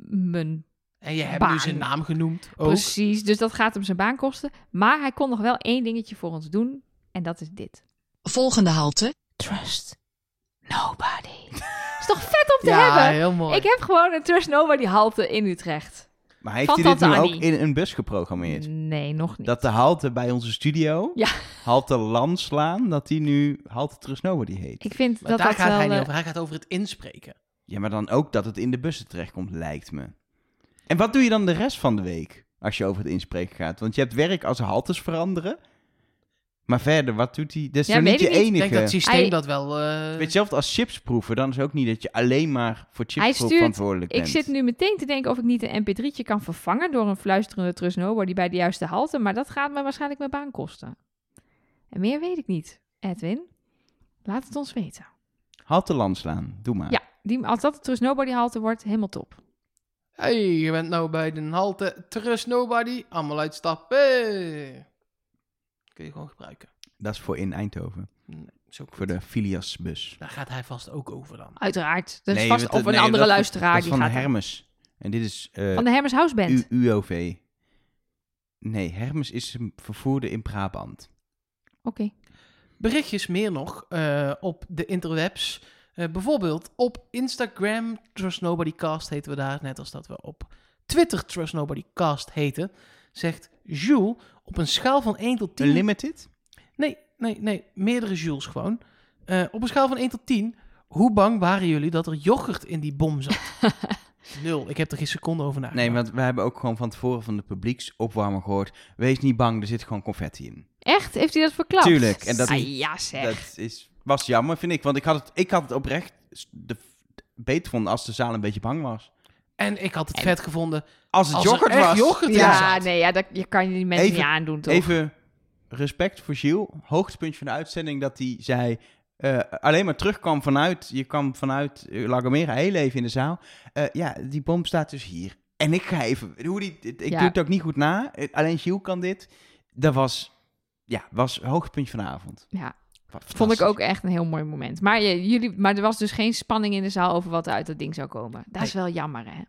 [SPEAKER 3] mijn...
[SPEAKER 2] En je hebt
[SPEAKER 3] Baan.
[SPEAKER 2] nu zijn naam genoemd ook.
[SPEAKER 3] Precies, dus dat gaat hem zijn baan kosten. Maar hij kon nog wel één dingetje voor ons doen, en dat is dit.
[SPEAKER 8] Volgende halte.
[SPEAKER 3] Trust nobody. is toch vet om te
[SPEAKER 2] Ja,
[SPEAKER 3] hebben?
[SPEAKER 2] heel mooi.
[SPEAKER 3] Ik heb gewoon een Trust nobody halte in Utrecht.
[SPEAKER 1] Eh, Maar heeft
[SPEAKER 3] Van
[SPEAKER 1] hij dit nu
[SPEAKER 3] Tante
[SPEAKER 1] ook
[SPEAKER 3] Annie.
[SPEAKER 1] in een bus geprogrammeerd?
[SPEAKER 3] Nee, nog Mm, niet.
[SPEAKER 1] Dat de halte bij onze studio,
[SPEAKER 3] Ja.
[SPEAKER 1] halte Landslaan, dat die nu halte Trusnover die heet.
[SPEAKER 3] Ik vind
[SPEAKER 2] Maar
[SPEAKER 3] dat
[SPEAKER 2] daar
[SPEAKER 3] dat
[SPEAKER 2] gaat
[SPEAKER 3] wel...
[SPEAKER 2] hij niet
[SPEAKER 3] eh,
[SPEAKER 2] over. Hij gaat over het inspreken.
[SPEAKER 1] Ja, maar dan ook dat het in de bussen terechtkomt, lijkt me. En wat doe je dan de rest van de week als je over het inspreken gaat? Want je hebt werk als haltes veranderen. Maar verder, wat doet hij? Dat is
[SPEAKER 3] Ja,
[SPEAKER 1] toch niet
[SPEAKER 3] weet
[SPEAKER 1] je
[SPEAKER 3] ik niet. Ik
[SPEAKER 2] Ik
[SPEAKER 1] enige.
[SPEAKER 2] denk dat het systeem
[SPEAKER 3] Hij-
[SPEAKER 2] dat wel... eh,
[SPEAKER 1] Weet je, hetzelfde als chips proeven, dan is ook niet dat je alleen maar voor chips
[SPEAKER 3] Hij
[SPEAKER 1] proeven
[SPEAKER 3] stuurt-
[SPEAKER 1] verantwoordelijk
[SPEAKER 3] Ik
[SPEAKER 1] bent.
[SPEAKER 3] zit nu meteen te denken of ik niet een mp3'tje kan vervangen door een fluisterende Trust Nobody bij de juiste halte. Maar dat gaat me waarschijnlijk mijn baan kosten. En meer weet ik niet, Edwin. Laat het ons weten.
[SPEAKER 1] Halte Landslaan, doe maar.
[SPEAKER 3] Ja, die, als dat de Trust Nobody halte wordt, helemaal top.
[SPEAKER 2] hey, je bent nou bij de halte. Trust nobody. Allemaal uitstappen. Kun je gewoon gebruiken.
[SPEAKER 1] Dat is voor in Eindhoven,
[SPEAKER 2] Zo goed.
[SPEAKER 1] voor de Filiasbus.
[SPEAKER 2] Daar gaat hij vast ook over dan.
[SPEAKER 3] Uiteraard. Dus
[SPEAKER 1] Nee,
[SPEAKER 3] vast
[SPEAKER 1] want-
[SPEAKER 3] of een
[SPEAKER 1] nee,
[SPEAKER 3] andere
[SPEAKER 1] dat-
[SPEAKER 3] luisteraar.
[SPEAKER 1] dat is
[SPEAKER 3] die
[SPEAKER 1] van
[SPEAKER 3] gaat daar-
[SPEAKER 1] Hermes. En dit is eh,
[SPEAKER 3] van de Hermes House Band.
[SPEAKER 1] U- UOV. Nee, Hermes is een vervoerder in Brabant.
[SPEAKER 3] Oké.
[SPEAKER 2] Berichtjes meer nog eh, op de interwebs. Eh, bijvoorbeeld op Instagram, Trust Nobody Cast heten we daar. Net als dat we op Twitter Trust Nobody Cast heten. Zegt Jules, op een schaal van 1 tot 10...
[SPEAKER 1] Unlimited?
[SPEAKER 2] Nee, nee, nee. Meerdere Jules gewoon. Eh, op een schaal van 1 tot 10. Hoe bang waren jullie dat er yoghurt in die bom zat? Nul. Ik heb er geen seconde over nagedacht.
[SPEAKER 1] Nee, want we hebben ook gewoon van tevoren van de publieksopwarmer gehoord. Wees niet bang, er zit gewoon confetti in.
[SPEAKER 3] Echt? Heeft hij dat verklapt?
[SPEAKER 1] Tuurlijk, en dat-
[SPEAKER 3] ah, ja zeg.
[SPEAKER 1] Dat is, was jammer, vind ik. Want ik had het, ik had het oprecht s- de, beter vonden als de zaal een beetje bang was.
[SPEAKER 2] En ik had het vet gevonden
[SPEAKER 1] Als het
[SPEAKER 2] als
[SPEAKER 1] yoghurt
[SPEAKER 2] er echt
[SPEAKER 1] was.
[SPEAKER 2] yoghurt in
[SPEAKER 3] ja,
[SPEAKER 2] zat.
[SPEAKER 3] nee, ja, dat, je kan die mensen
[SPEAKER 1] Even-
[SPEAKER 3] niet aandoen toch?
[SPEAKER 1] Even respect voor Gilles. Hoogtepuntje van de uitzending dat hij zei... eh, alleen maar terugkwam vanuit... Je kwam vanuit eh, La Gomera heel even in de zaal. Eh, ja, die bom staat dus hier. En ik ga even... Hoe die, ik
[SPEAKER 3] Ja.
[SPEAKER 1] doe het ook niet goed na. Eh, Alleen Gilles kan dit. Dat was... Ja, was hoogtepuntje van de avond.
[SPEAKER 3] Ja.
[SPEAKER 1] Wat
[SPEAKER 3] Vond ik
[SPEAKER 1] fantastisch.
[SPEAKER 3] ook echt een heel mooi moment. Maar, je, jullie, maar er was dus geen spanning in de zaal over wat er uit dat ding zou komen. Dat is wel jammer, hè?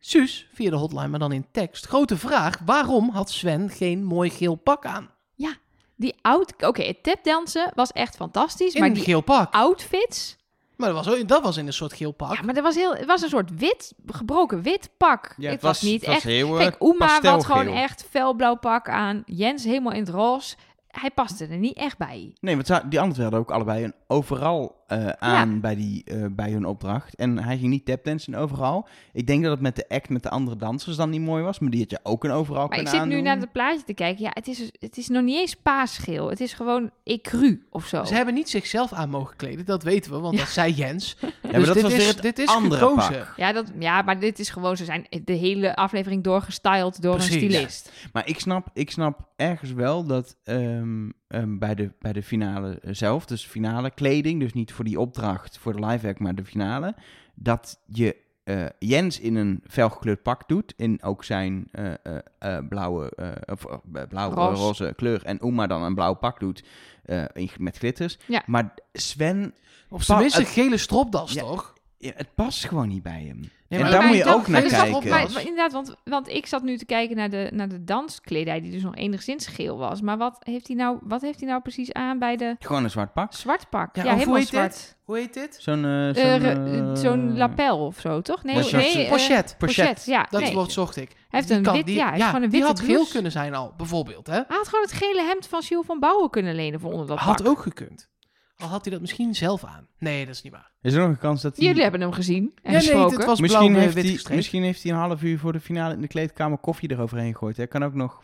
[SPEAKER 2] Suus, via de hotline, maar dan in tekst. Grote vraag, waarom had Sven geen mooi geel pak aan?
[SPEAKER 3] Die out... Oké, het tapdansen was echt fantastisch.
[SPEAKER 2] In
[SPEAKER 3] maar
[SPEAKER 2] een
[SPEAKER 3] die
[SPEAKER 2] geel pak.
[SPEAKER 3] outfits...
[SPEAKER 2] Maar dat was, ook- dat was in een soort geel pak.
[SPEAKER 3] Ja, maar dat was heel, het was een soort wit, gebroken wit pak.
[SPEAKER 1] Ja,
[SPEAKER 3] het was, niet
[SPEAKER 1] het
[SPEAKER 3] echt...
[SPEAKER 1] heel, eh,
[SPEAKER 3] Kijk, Uma had
[SPEAKER 1] pastelgeel.
[SPEAKER 3] gewoon echt felblauw pak aan. Jens helemaal in het roze. Hij paste er niet echt bij.
[SPEAKER 1] Nee, want za- die anderen hadden ook allebei een overal eh, aan bij, die, eh, bij hun opdracht. En hij ging niet tapdansen in overal. Ik denk dat het met de act met de andere dansers dan niet mooi was. Maar die had je ook een overal
[SPEAKER 3] Maar ik
[SPEAKER 1] kunnen
[SPEAKER 3] zit nu
[SPEAKER 1] aandoen.
[SPEAKER 3] naar het plaatje te kijken. Ja, het is, dus- het is nog niet eens paasgeel. Het is gewoon ecru of zo.
[SPEAKER 2] Ze hebben niet zichzelf aan mogen kleden, dat weten we, want
[SPEAKER 3] Ja.
[SPEAKER 2] dat zei Jens.
[SPEAKER 1] Ja, maar
[SPEAKER 2] dus
[SPEAKER 1] dat
[SPEAKER 2] dit,
[SPEAKER 1] was weer
[SPEAKER 2] is,
[SPEAKER 1] het
[SPEAKER 2] dit is
[SPEAKER 1] andere
[SPEAKER 2] gekozen.
[SPEAKER 1] pak.
[SPEAKER 3] Ja, dat, ja, maar dit is gewoon, ze zijn de hele aflevering doorgestyled door
[SPEAKER 2] Precies.
[SPEAKER 3] een stylist.
[SPEAKER 1] Maar ik snap, ik snap ergens wel dat ehm, ehm, bij, de, bij de finale zelf, dus finale kleding, dus niet voor die opdracht, voor de live act, maar de finale, dat je eh, Jens in een felgekleurd pak doet, in ook zijn eh, eh, eh, blauwe, eh, of, eh, blauwe
[SPEAKER 3] Roze.
[SPEAKER 1] roze kleur, en Uma dan een blauw pak doet eh, in- met glitters.
[SPEAKER 3] Ja.
[SPEAKER 1] Maar Sven,
[SPEAKER 2] Op zijn
[SPEAKER 1] Pa-
[SPEAKER 2] minst een
[SPEAKER 1] het-
[SPEAKER 2] gele stropdas,
[SPEAKER 1] Ja.
[SPEAKER 2] toch?
[SPEAKER 1] ja, het past gewoon niet bij hem.
[SPEAKER 2] maar-
[SPEAKER 1] en daar
[SPEAKER 2] Nee, maar
[SPEAKER 1] moet
[SPEAKER 3] ik
[SPEAKER 1] je
[SPEAKER 3] dacht-
[SPEAKER 1] ook naar
[SPEAKER 2] dat is
[SPEAKER 3] maar-
[SPEAKER 2] toch
[SPEAKER 1] kijken.
[SPEAKER 3] Maar, maar inderdaad, want, want ik zat nu te kijken naar de, naar de danskledij, die dus nog enigszins geel was. Maar wat heeft hij nou, wat heeft hij nou precies aan bij de
[SPEAKER 1] Gewoon een zwart pak.
[SPEAKER 3] zwart pak?
[SPEAKER 2] Ja,
[SPEAKER 3] Ja,
[SPEAKER 2] of
[SPEAKER 3] helemaal
[SPEAKER 2] hoe heet
[SPEAKER 3] zwart.
[SPEAKER 2] dit? Hoe heet dit?
[SPEAKER 1] Zo'n eh, zo'n,
[SPEAKER 3] Eh, re-
[SPEAKER 1] eh,
[SPEAKER 3] Zo'n lapel of zo, toch? Nee,
[SPEAKER 1] Ja,
[SPEAKER 3] nee,
[SPEAKER 1] zo'n-
[SPEAKER 2] Pochet.
[SPEAKER 3] eh, pochet.
[SPEAKER 1] pochet.
[SPEAKER 3] Ja,
[SPEAKER 2] Dat
[SPEAKER 3] nee.
[SPEAKER 2] woord zocht ik.
[SPEAKER 3] Hij heeft
[SPEAKER 2] Die
[SPEAKER 3] een
[SPEAKER 2] kan-
[SPEAKER 3] wit-
[SPEAKER 2] die-
[SPEAKER 3] ja, hij heeft gewoon een
[SPEAKER 2] die
[SPEAKER 3] witte
[SPEAKER 2] had geel
[SPEAKER 3] blouse.
[SPEAKER 2] kunnen zijn al, bijvoorbeeld. Hè?
[SPEAKER 3] Hij had gewoon het gele hemd van Sjoel van Bouwen kunnen lenen voor onder dat
[SPEAKER 2] Had
[SPEAKER 3] pak.
[SPEAKER 2] ook gekund. Al had hij dat misschien zelf aan. Nee, dat is niet waar.
[SPEAKER 1] Is er nog een kans dat hij...
[SPEAKER 3] Jullie hebben hem gezien en
[SPEAKER 2] Ja, nee,
[SPEAKER 3] gesproken.
[SPEAKER 2] het was
[SPEAKER 1] Misschien,
[SPEAKER 2] blauw eh,
[SPEAKER 1] heeft
[SPEAKER 2] wit
[SPEAKER 1] hij,
[SPEAKER 2] gestreept.
[SPEAKER 1] misschien heeft hij een half uur voor de finale in de kleedkamer koffie eroverheen gegooid. Hij kan ook nog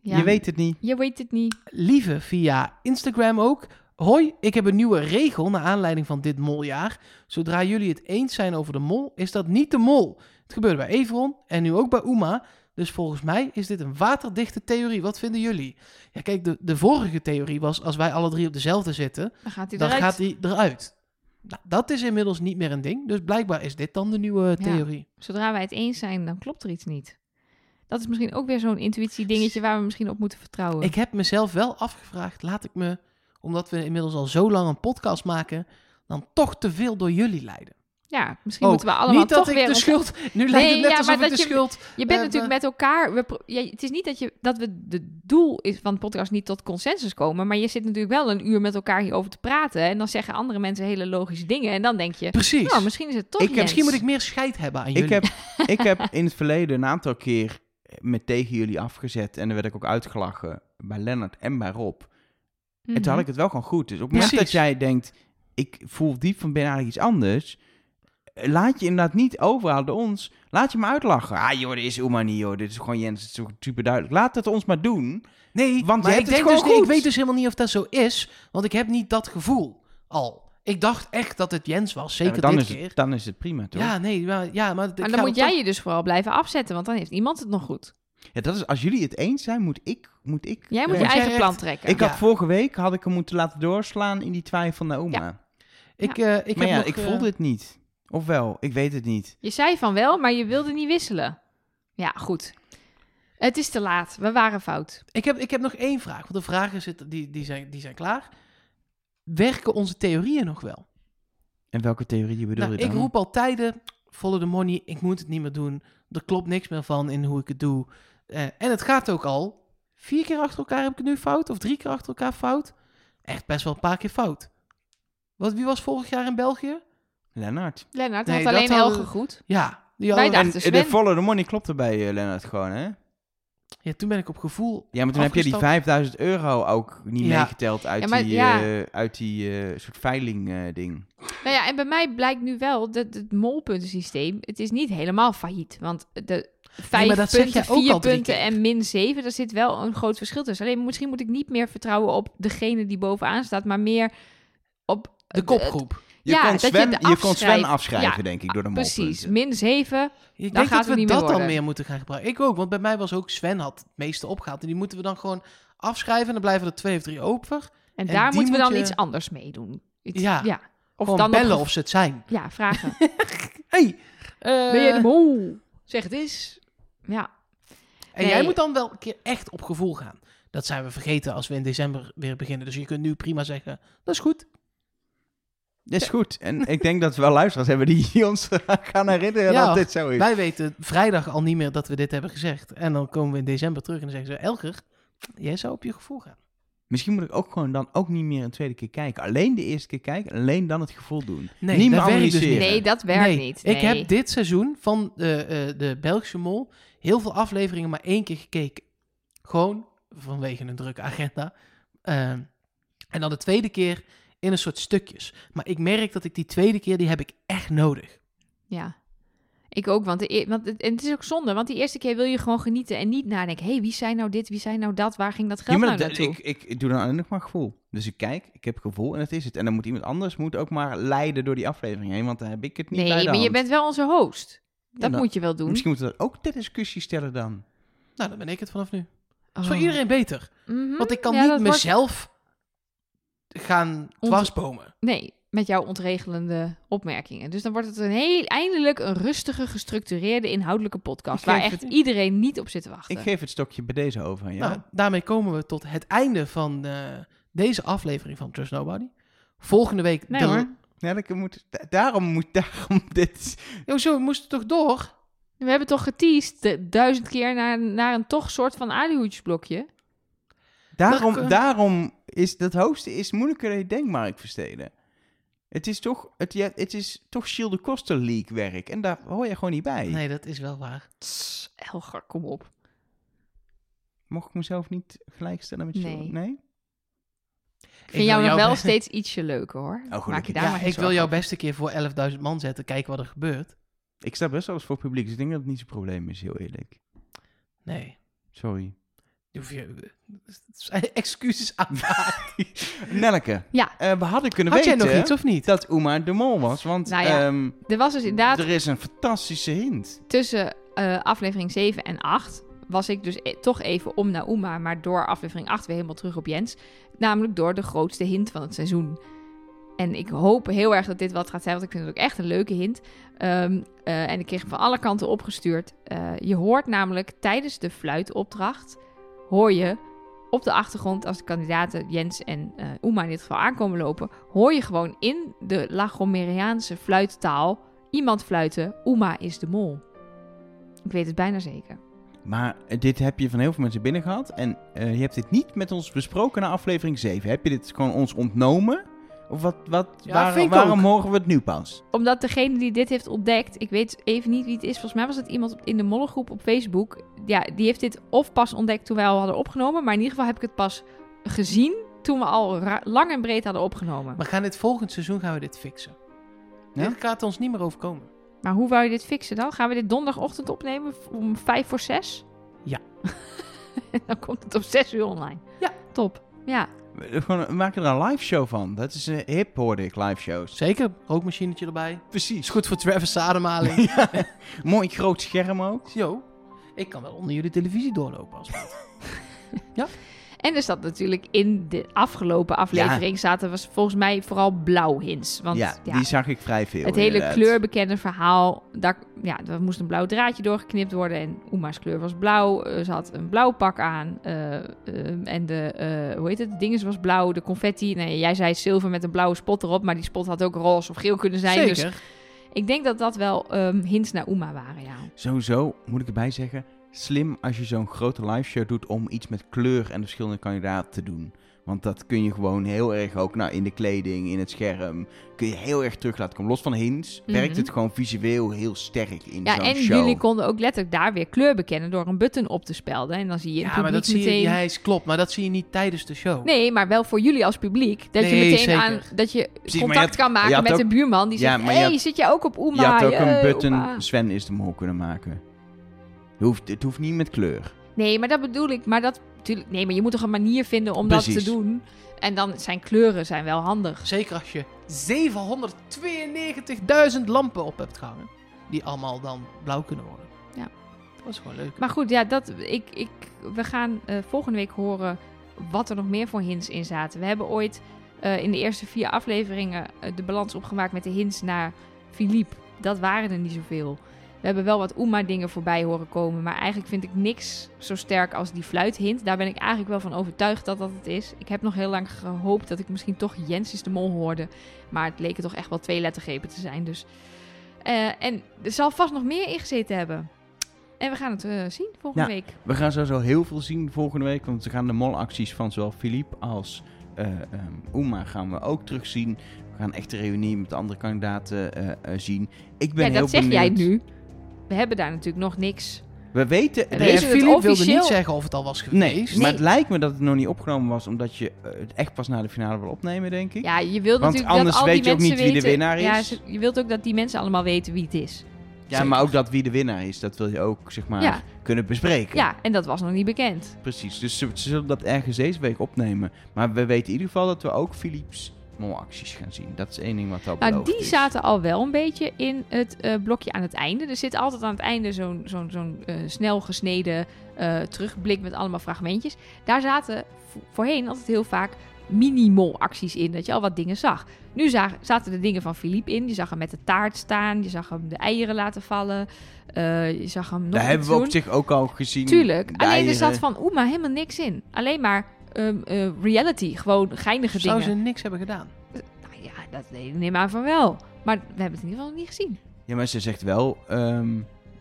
[SPEAKER 3] Ja.
[SPEAKER 1] Je weet het niet.
[SPEAKER 3] Je weet het niet.
[SPEAKER 2] lieve via Instagram ook. Hoi, ik heb een nieuwe regel naar aanleiding van dit moljaar. Zodra jullie het eens zijn over de mol, is dat niet de mol. Het gebeurde bij Evron en nu ook bij Uma. Dus volgens mij is dit een waterdichte theorie. Wat vinden jullie? Ja, kijk, de, de vorige theorie was als wij alle drie op dezelfde zitten,
[SPEAKER 3] Dan gaat hij
[SPEAKER 2] dan
[SPEAKER 3] eruit.
[SPEAKER 2] gaat die eruit. Nou, dat is inmiddels niet meer een ding. Dus blijkbaar is dit dan de nieuwe
[SPEAKER 3] Ja.
[SPEAKER 2] theorie.
[SPEAKER 3] Zodra wij het eens zijn, dan klopt er iets niet. Dat is misschien ook weer zo'n intuïtie-dingetje waar we misschien op moeten vertrouwen.
[SPEAKER 2] Ik heb mezelf wel afgevraagd, laat ik me, omdat we inmiddels al zo lang een podcast maken, dan toch te veel door jullie leiden.
[SPEAKER 3] Ja, misschien
[SPEAKER 2] Ook.
[SPEAKER 3] moeten we allemaal
[SPEAKER 2] niet dat
[SPEAKER 3] toch
[SPEAKER 2] ik
[SPEAKER 3] weer...
[SPEAKER 2] de
[SPEAKER 3] ons-
[SPEAKER 2] schuld. Nu lijkt
[SPEAKER 3] Nee,
[SPEAKER 2] het net
[SPEAKER 3] ja,
[SPEAKER 2] alsof
[SPEAKER 3] maar
[SPEAKER 2] ik de
[SPEAKER 3] dat je-
[SPEAKER 2] schuld.
[SPEAKER 3] Je
[SPEAKER 2] Eh,
[SPEAKER 3] bent natuurlijk
[SPEAKER 2] we-
[SPEAKER 3] met elkaar... We pro- ja, het is niet dat, je, dat we het doel is van de podcast niet tot consensus komen. Maar je zit natuurlijk wel een uur met elkaar hierover te praten. En dan zeggen andere mensen hele logische dingen. En dan denk je,
[SPEAKER 2] Precies.
[SPEAKER 3] nou, misschien is het toch
[SPEAKER 1] Ik heb-
[SPEAKER 3] Jens.
[SPEAKER 2] Misschien moet ik meer scheid hebben aan jullie.
[SPEAKER 1] Ik heb, ik heb in het verleden een aantal keer me tegen jullie afgezet. En dan werd ik ook uitgelachen bij Lennart en bij Rob.
[SPEAKER 3] Mhm.
[SPEAKER 1] En toen had ik het wel gewoon goed. Dus op het moment
[SPEAKER 2] Precies.
[SPEAKER 1] dat jij denkt, ik voel diep van binnen eigenlijk iets anders. eh, Laat je inderdaad niet overhalen door ons. Laat je me uitlachen. Ah joh, dit is Oema niet joh. Dit is gewoon Jens. Het is zo super duidelijk. Laat het ons maar doen.
[SPEAKER 2] nee,
[SPEAKER 1] want je hebt
[SPEAKER 2] maar ik,
[SPEAKER 1] het
[SPEAKER 2] denk
[SPEAKER 1] gewoon
[SPEAKER 2] dus, niet- ik
[SPEAKER 1] goed.
[SPEAKER 2] weet dus helemaal niet of dat zo is. Want ik heb niet dat gevoel al. Ik dacht echt dat het Jens was. Zeker
[SPEAKER 1] Ja, maar dan,
[SPEAKER 2] dit
[SPEAKER 1] is
[SPEAKER 2] keer.
[SPEAKER 1] het, dan is het prima toch?
[SPEAKER 2] ja, nee, maar, ja, maar, ik
[SPEAKER 3] Maar
[SPEAKER 2] ga
[SPEAKER 3] dan moet
[SPEAKER 2] wel
[SPEAKER 3] jij je dus vooral blijven afzetten. Want dan heeft iemand het nog goed.
[SPEAKER 1] Ja, dat is, als jullie het eens zijn, moet ik... Moet ik
[SPEAKER 3] Jij moet
[SPEAKER 2] moet
[SPEAKER 3] je
[SPEAKER 2] jij
[SPEAKER 3] eigen
[SPEAKER 2] echt-
[SPEAKER 3] plan trekken.
[SPEAKER 1] Ik had
[SPEAKER 2] Ja.
[SPEAKER 1] vorige week had ik hem moeten laten doorslaan in die twijfel naar Oma.
[SPEAKER 2] toch- Ik, eh,
[SPEAKER 1] maar
[SPEAKER 2] ik heb
[SPEAKER 1] ja,
[SPEAKER 2] nog,
[SPEAKER 1] ik
[SPEAKER 2] eh,
[SPEAKER 1] voelde het niet. Of wel, ik weet het niet.
[SPEAKER 3] Je zei van wel, maar je wilde niet wisselen. Ja, goed. Het is te laat. We waren fout.
[SPEAKER 2] Ik heb, ik heb nog één vraag. Want de vragen zitten, die, die, zijn, die zijn klaar. Werken onze theorieën nog wel?
[SPEAKER 1] En welke theorie bedoel
[SPEAKER 2] Nou,
[SPEAKER 1] je dan?
[SPEAKER 2] ik roep al tijden, follow the money, ik moet het niet meer doen. Er klopt niks meer van in hoe ik het doe. Eh, en het gaat ook al. Vier keer achter elkaar heb ik het nu fout, of drie keer achter elkaar fout. Echt best wel een paar keer fout. Wat, wie was vorig jaar in België?
[SPEAKER 1] Lennart.
[SPEAKER 3] Lennart
[SPEAKER 2] Nee,
[SPEAKER 3] had alleen
[SPEAKER 2] dat hadden-
[SPEAKER 3] Helge goed.
[SPEAKER 2] Ja, die
[SPEAKER 3] Wij
[SPEAKER 2] hadden-
[SPEAKER 1] En
[SPEAKER 3] dachten
[SPEAKER 1] eh, de
[SPEAKER 3] Sven.
[SPEAKER 1] follow the money klopte bij eh, Lennart gewoon, hè?
[SPEAKER 2] ja, toen ben ik op gevoel.
[SPEAKER 1] Ja, maar toen heb je die
[SPEAKER 2] Afgestapt.
[SPEAKER 1] 5000 euro ook niet
[SPEAKER 2] Ja.
[SPEAKER 1] meegeteld uit
[SPEAKER 3] Ja, maar
[SPEAKER 1] die,
[SPEAKER 3] ja.
[SPEAKER 1] eh, uit die eh, soort veiling eh, ding.
[SPEAKER 3] Nou ja, en bij mij blijkt nu wel dat het molpuntensysteem, het is niet helemaal failliet. Want de vijf
[SPEAKER 2] maar dat zeg
[SPEAKER 3] punten,
[SPEAKER 2] jij ook
[SPEAKER 3] vier
[SPEAKER 2] al drie
[SPEAKER 3] punten
[SPEAKER 2] keer.
[SPEAKER 3] en min zeven, daar zit wel een groot verschil tussen. Alleen misschien moet ik niet meer vertrouwen op degene die bovenaan staat, maar meer op...
[SPEAKER 2] De
[SPEAKER 3] eh,
[SPEAKER 2] kopgroep.
[SPEAKER 1] Je,
[SPEAKER 3] Ja,
[SPEAKER 1] kon,
[SPEAKER 3] dat je
[SPEAKER 1] Sven,
[SPEAKER 3] de
[SPEAKER 1] je kon Sven
[SPEAKER 3] afschrijf-
[SPEAKER 1] afschrijven,
[SPEAKER 3] ja,
[SPEAKER 1] denk ik, door de molpunten.
[SPEAKER 3] Precies, min zeven.
[SPEAKER 2] Ik
[SPEAKER 3] Dan
[SPEAKER 2] denk
[SPEAKER 3] gaat
[SPEAKER 2] dat
[SPEAKER 3] het
[SPEAKER 2] we
[SPEAKER 3] niet
[SPEAKER 2] dat
[SPEAKER 3] meer
[SPEAKER 2] dan
[SPEAKER 3] worden.
[SPEAKER 2] meer moeten gaan gebruiken. Ik ook, want bij mij was ook Sven had het meeste opgehaald. En die moeten we dan gewoon afschrijven. En dan blijven er twee of drie over.
[SPEAKER 3] En,
[SPEAKER 2] En
[SPEAKER 3] daar
[SPEAKER 2] die
[SPEAKER 3] moeten we
[SPEAKER 2] moet
[SPEAKER 3] dan
[SPEAKER 2] je-
[SPEAKER 3] iets anders mee doen. Iets,
[SPEAKER 2] Ja.
[SPEAKER 3] ja. ja.
[SPEAKER 2] Of
[SPEAKER 3] dan
[SPEAKER 2] dan
[SPEAKER 3] op
[SPEAKER 2] bellen
[SPEAKER 3] gevo-
[SPEAKER 2] of ze het zijn.
[SPEAKER 3] vragen.
[SPEAKER 2] Hey,
[SPEAKER 3] ben je de
[SPEAKER 2] eh,
[SPEAKER 3] mol? Zeg het eens. Ja,
[SPEAKER 2] En
[SPEAKER 3] Nee.
[SPEAKER 2] jij moet dan wel een keer echt op gevoel gaan. Dat zijn we vergeten als we in december weer beginnen. Dus je kunt nu prima zeggen, dat is goed.
[SPEAKER 1] Dat is goed. En ik denk dat we wel luisteraars hebben die ons gaan herinneren
[SPEAKER 2] Ja,
[SPEAKER 1] dat dit zo is.
[SPEAKER 2] Wij weten vrijdag al niet meer dat we dit hebben gezegd. En dan komen we in december terug en dan zeggen ze, Elger, jij zou op je gevoel gaan.
[SPEAKER 1] Misschien moet ik ook gewoon dan ook niet meer een tweede keer kijken. Alleen de eerste keer kijken, alleen dan het gevoel doen.
[SPEAKER 2] Nee,
[SPEAKER 1] niet meer
[SPEAKER 2] dat werkt dus
[SPEAKER 1] analyseren.
[SPEAKER 2] niet.
[SPEAKER 3] nee, dat werkt
[SPEAKER 2] Nee,
[SPEAKER 3] niet.
[SPEAKER 2] Ik
[SPEAKER 3] Nee.
[SPEAKER 2] heb dit seizoen van eh, eh, de Belgische Mol heel veel afleveringen maar één keer gekeken. Gewoon vanwege een drukke agenda. Ehm, en dan de tweede keer in een soort stukjes. Maar ik merk dat ik die tweede keer, die heb ik echt nodig.
[SPEAKER 3] Ja. Ik ook, want, de, e- want het, en het is ook zonde. Want die eerste keer wil je gewoon genieten en niet nadenken. Hé, hey, wie zei nou dit? Wie zei nou dat? Waar ging dat
[SPEAKER 1] Ja,
[SPEAKER 3] geld
[SPEAKER 1] maar
[SPEAKER 3] nou
[SPEAKER 1] dat-
[SPEAKER 3] naartoe?
[SPEAKER 1] ik, ik, ik doe dan alleen nog maar gevoel. Dus ik kijk, ik heb gevoel en dat is het. En dan moet iemand anders moet ook maar leiden door die aflevering heen, want dan heb ik het niet
[SPEAKER 3] nee,
[SPEAKER 1] bij de
[SPEAKER 3] maar je
[SPEAKER 1] hand.
[SPEAKER 3] bent wel onze host. Dat
[SPEAKER 1] nou,
[SPEAKER 3] moet je wel doen.
[SPEAKER 1] Misschien moeten we dat ook ter discussie stellen dan.
[SPEAKER 2] Nou, dan ben ik het vanaf nu. Dat is
[SPEAKER 3] Oh.
[SPEAKER 2] voor iedereen beter.
[SPEAKER 3] Mhm.
[SPEAKER 2] Want ik kan
[SPEAKER 3] Ja, dat
[SPEAKER 2] niet
[SPEAKER 3] wordt-
[SPEAKER 2] mezelf gaan dwarsbomen.
[SPEAKER 3] Nee, met jouw ontregelende opmerkingen. Dus dan wordt het een heel, eindelijk een rustige, gestructureerde, inhoudelijke podcast.
[SPEAKER 1] Ik
[SPEAKER 3] Waar
[SPEAKER 1] geef
[SPEAKER 3] echt
[SPEAKER 1] het-
[SPEAKER 3] iedereen niet op zit te wachten.
[SPEAKER 1] Ik geef het stokje bij deze over aan jou.
[SPEAKER 2] Nou, daarmee komen we tot het einde van eh, deze aflevering van Trust Nobody. Volgende week...
[SPEAKER 3] Nee
[SPEAKER 2] de-
[SPEAKER 3] hoor.
[SPEAKER 1] Ja, dat moet, da- daarom moet daarom dit.
[SPEAKER 2] Jo, zo, we moesten toch door?
[SPEAKER 3] We hebben toch geteased de- duizend keer naar, naar een toch soort van alihoedjesblokje.
[SPEAKER 1] Daarom,
[SPEAKER 2] Mag ik, eh,
[SPEAKER 1] daarom is dat hoogste is moeilijker dan je denkt, Mark Versteden. Het is toch, het, ja, het is toch Shield de Koster League werk. En daar hoor je gewoon niet bij.
[SPEAKER 2] Nee, dat is wel waar.
[SPEAKER 3] Tss, Elger, kom op.
[SPEAKER 1] Mocht ik mezelf niet gelijkstellen met Shield?
[SPEAKER 3] Nee.
[SPEAKER 1] nee?
[SPEAKER 3] Ik vind jou
[SPEAKER 2] wil
[SPEAKER 3] nog wel
[SPEAKER 2] best-
[SPEAKER 3] steeds ietsje leuker hoor.
[SPEAKER 1] gelukkig.
[SPEAKER 3] Maak je daar
[SPEAKER 1] Ja,
[SPEAKER 3] maar
[SPEAKER 2] Ja,
[SPEAKER 3] geen
[SPEAKER 2] ik wil
[SPEAKER 1] zorgen.
[SPEAKER 2] jou best een keer voor 11.000 man zetten. Kijken wat er gebeurt.
[SPEAKER 1] Ik sta best wel eens voor het publiek, dus ik denk dat het niet zo'n probleem is, heel eerlijk.
[SPEAKER 2] Nee.
[SPEAKER 1] Sorry.
[SPEAKER 2] hoef je- het zijn excuses aan.
[SPEAKER 1] Nelke,
[SPEAKER 3] Ja,
[SPEAKER 1] eh, we hadden kunnen
[SPEAKER 2] Had jij
[SPEAKER 1] weten
[SPEAKER 2] nog iets of niet?
[SPEAKER 1] dat Uma de mol was. Want
[SPEAKER 3] Nou ja,
[SPEAKER 1] ehm,
[SPEAKER 3] er was dus inderdaad
[SPEAKER 1] er is een fantastische hint.
[SPEAKER 3] tussen eh, aflevering 7 en 8 was ik dus e- toch even om naar Uma, maar door aflevering 8 weer helemaal terug op Jens. Namelijk door de grootste hint van het seizoen. En ik hoop heel erg dat dit wat gaat zijn, want ik vind het ook echt een leuke hint. Ehm, eh, en ik kreeg hem van alle kanten opgestuurd. Eh, je hoort namelijk tijdens de fluitopdracht, hoor je op de achtergrond, als de kandidaten Jens en eh Uma in dit geval aankomen lopen, hoor je gewoon in de Lagomeriaanse fluittaal iemand fluiten, Uma is de mol. Ik weet het bijna zeker.
[SPEAKER 1] Maar eh, dit heb je van heel veel mensen binnen gehad. En eh, je hebt dit niet met ons besproken na aflevering 7. Heb je dit gewoon ons ontnomen? Of wat, wat,
[SPEAKER 2] Ja,
[SPEAKER 1] waar-
[SPEAKER 2] vind ik
[SPEAKER 1] waarom
[SPEAKER 2] ook.
[SPEAKER 1] horen we het nu pas?
[SPEAKER 3] Omdat degene die dit heeft ontdekt, ik weet even niet wie het is, volgens mij was het iemand op- in de mollengroep op Facebook. Ja, die heeft dit of pas ontdekt toen wij al hadden opgenomen, maar in ieder geval heb ik het pas gezien toen we al ra- lang en breed hadden opgenomen.
[SPEAKER 2] We
[SPEAKER 3] Maar,
[SPEAKER 2] gaan dit volgend seizoen gaan we dit fixen.
[SPEAKER 1] Ja?
[SPEAKER 2] Dit gaat ons niet meer overkomen.
[SPEAKER 3] hoe wou je dit fixen dan? Gaan we dit donderdagochtend opnemen v- om vijf voor zes?
[SPEAKER 2] Ja.
[SPEAKER 3] dan komt het om zes uur online.
[SPEAKER 2] Ja.
[SPEAKER 3] Top. Ja,
[SPEAKER 1] We, gewoon, we maken er een live show van. Dat is eh, hip, hoorde ik, live shows.
[SPEAKER 2] Zeker, rookmachinetje erbij. Is
[SPEAKER 1] Precies.
[SPEAKER 2] goed voor Travis ademhaling.
[SPEAKER 1] Ja. Mooi groot scherm ook.
[SPEAKER 2] Yo, ik kan wel onder jullie televisie doorlopen als wat.
[SPEAKER 3] En er zat natuurlijk in de afgelopen aflevering zaten was volgens mij vooral blauw hints. Want ja,
[SPEAKER 1] ja, die zag ik vrij veel.
[SPEAKER 3] het hele
[SPEAKER 1] inderdaad.
[SPEAKER 3] kleurbekende verhaal, daar, ja, er moest een blauw draadje doorgeknipt worden. En Oema's kleur was blauw. eh, Ze had een blauw pak aan. eh, ehm, en de, eh, hoe heet het, de dinges was blauw. De confetti, nee, jij zei zilver met een blauwe spot erop. Maar die spot had ook roze of geel kunnen zijn. Dus
[SPEAKER 2] Zeker.
[SPEAKER 3] ik denk dat dat wel ehm, hints naar Oema waren, ja.
[SPEAKER 1] Sowieso moet ik erbij zeggen, slim als je zo'n grote live show doet om iets met kleur en de verschillende kandidaten te doen. Want dat kun je gewoon heel erg ook, nou in de kleding, in het scherm, kun je heel erg terug laten komen. Los van hints werkt
[SPEAKER 3] Mhm.
[SPEAKER 1] het gewoon visueel heel sterk in
[SPEAKER 3] Ja,
[SPEAKER 1] zo'n
[SPEAKER 3] en
[SPEAKER 1] show.
[SPEAKER 3] jullie konden ook letterlijk daar weer kleur bekennen door een button op te spelden. En dan zie je in het
[SPEAKER 2] Ja, maar
[SPEAKER 3] publiek
[SPEAKER 2] dat zie je,
[SPEAKER 3] meteen...
[SPEAKER 2] ja, is klopt, maar dat zie je niet tijdens de show.
[SPEAKER 3] Nee, maar wel voor jullie als publiek. Dat je
[SPEAKER 2] Nee,
[SPEAKER 3] meteen
[SPEAKER 2] zeker.
[SPEAKER 3] aan dat je
[SPEAKER 1] Precies, maar
[SPEAKER 3] contact
[SPEAKER 1] je had- je
[SPEAKER 3] kan maken
[SPEAKER 1] had
[SPEAKER 3] met
[SPEAKER 1] ook-
[SPEAKER 3] de buurman die
[SPEAKER 1] Ja,
[SPEAKER 3] zegt:
[SPEAKER 1] maar
[SPEAKER 3] Hé,
[SPEAKER 1] je
[SPEAKER 3] hey,
[SPEAKER 1] had-
[SPEAKER 3] zit je ook op
[SPEAKER 1] je
[SPEAKER 3] Oema?
[SPEAKER 1] had ook een
[SPEAKER 3] Hey,
[SPEAKER 1] button
[SPEAKER 3] Oema."
[SPEAKER 1] Sven is de mol kunnen maken. Het hoeft, het hoeft niet met kleur.
[SPEAKER 3] Nee, maar dat bedoel ik. Maar dat natuurlijk. Nee, maar je moet toch een manier vinden om dat
[SPEAKER 1] Precies.
[SPEAKER 3] te doen. En dan zijn kleuren zijn wel handig.
[SPEAKER 2] Zeker als je 792.000 lampen op hebt gehangen. Die allemaal dan blauw kunnen worden.
[SPEAKER 3] Ja.
[SPEAKER 2] Dat is gewoon leuk.
[SPEAKER 3] Maar goed, ja, dat, ik, ik, we gaan eh, volgende week horen wat er nog meer voor hints in zaten. We hebben ooit eh, in de eerste vier afleveringen eh, de balans opgemaakt met de hints naar Philippe. Dat waren er niet zoveel. We hebben wel wat Oema-dingen voorbij horen komen. Maar eigenlijk vind ik niks zo sterk als die fluithint. Daar ben ik eigenlijk wel van overtuigd dat dat het is. Ik heb nog heel lang gehoopt dat ik misschien toch Jens is de mol hoorde. Maar het leken toch echt wel twee lettergrepen te zijn. Dus. eh, en er zal vast nog meer ingezeten hebben. En we gaan het eh, zien volgende
[SPEAKER 1] Ja.
[SPEAKER 3] week.
[SPEAKER 1] We gaan sowieso heel veel zien volgende week. Want we gaan de molacties van zowel Philippe als eh ehm, Uma gaan we ook terugzien. We gaan echt de reunie met de andere kandidaten eh, eh, zien. Ik ben
[SPEAKER 3] Ja,
[SPEAKER 1] heel
[SPEAKER 3] dat zeg
[SPEAKER 1] benieuwd.
[SPEAKER 3] jij nu. We hebben daar natuurlijk nog niks.
[SPEAKER 1] We weten...
[SPEAKER 3] Nee,
[SPEAKER 1] Nee,
[SPEAKER 2] Nee,
[SPEAKER 3] is het
[SPEAKER 2] Filip wilde
[SPEAKER 3] officieel-
[SPEAKER 2] niet zeggen of het al was geweest.
[SPEAKER 1] nee, maar het lijkt me dat het nog niet opgenomen was. Omdat je eh, het echt pas na de finale wil opnemen, denk ik.
[SPEAKER 3] Ja, je wilt
[SPEAKER 1] Want
[SPEAKER 3] natuurlijk
[SPEAKER 1] anders
[SPEAKER 3] dat al
[SPEAKER 1] weet je
[SPEAKER 3] die
[SPEAKER 1] ook
[SPEAKER 3] mensen
[SPEAKER 1] niet wie de
[SPEAKER 3] weten-
[SPEAKER 1] winnaar
[SPEAKER 3] Ja,
[SPEAKER 1] is.
[SPEAKER 3] ze- je wilt ook dat die mensen allemaal weten wie het is.
[SPEAKER 1] Ja, maar ook dat wie de winnaar is. Dat wil je ook, zeg maar,
[SPEAKER 3] Ja.
[SPEAKER 1] kunnen bespreken.
[SPEAKER 3] Ja, en dat was nog niet bekend.
[SPEAKER 1] Precies. Dus ze, ze zullen dat ergens deze week opnemen. Maar we weten in ieder geval dat we ook Philips molacties gaan zien. Dat is één ding wat al
[SPEAKER 3] Nou,
[SPEAKER 1] beloofd
[SPEAKER 3] die
[SPEAKER 1] is.
[SPEAKER 3] zaten al wel een beetje in het eh, blokje aan het einde. Er zit altijd aan het einde zo'n zo'n zo'n eh, snel gesneden eh, terugblik met allemaal fragmentjes. Daar zaten vo- voorheen altijd heel vaak minimal-acties in, dat je al wat dingen zag. Nu za- zaten de dingen van Philippe in. Je zag hem met de taart staan, je zag hem de eieren laten vallen, eh, je zag hem nog
[SPEAKER 1] Daar
[SPEAKER 3] iets
[SPEAKER 1] hebben we op
[SPEAKER 3] doen.
[SPEAKER 1] zich ook al gezien. eh,
[SPEAKER 3] Tuurlijk.
[SPEAKER 1] De
[SPEAKER 3] Alleen er
[SPEAKER 1] eieren.
[SPEAKER 3] zat van Oema helemaal niks in. Alleen maar ehm, eh, reality. Gewoon geinige
[SPEAKER 2] Zou ze
[SPEAKER 3] dingen.
[SPEAKER 2] niks hebben gedaan?
[SPEAKER 3] Nou ja, dat neem ik aan van wel. Maar we hebben het in ieder geval niet gezien.
[SPEAKER 1] Ja, maar ze zegt wel ehm,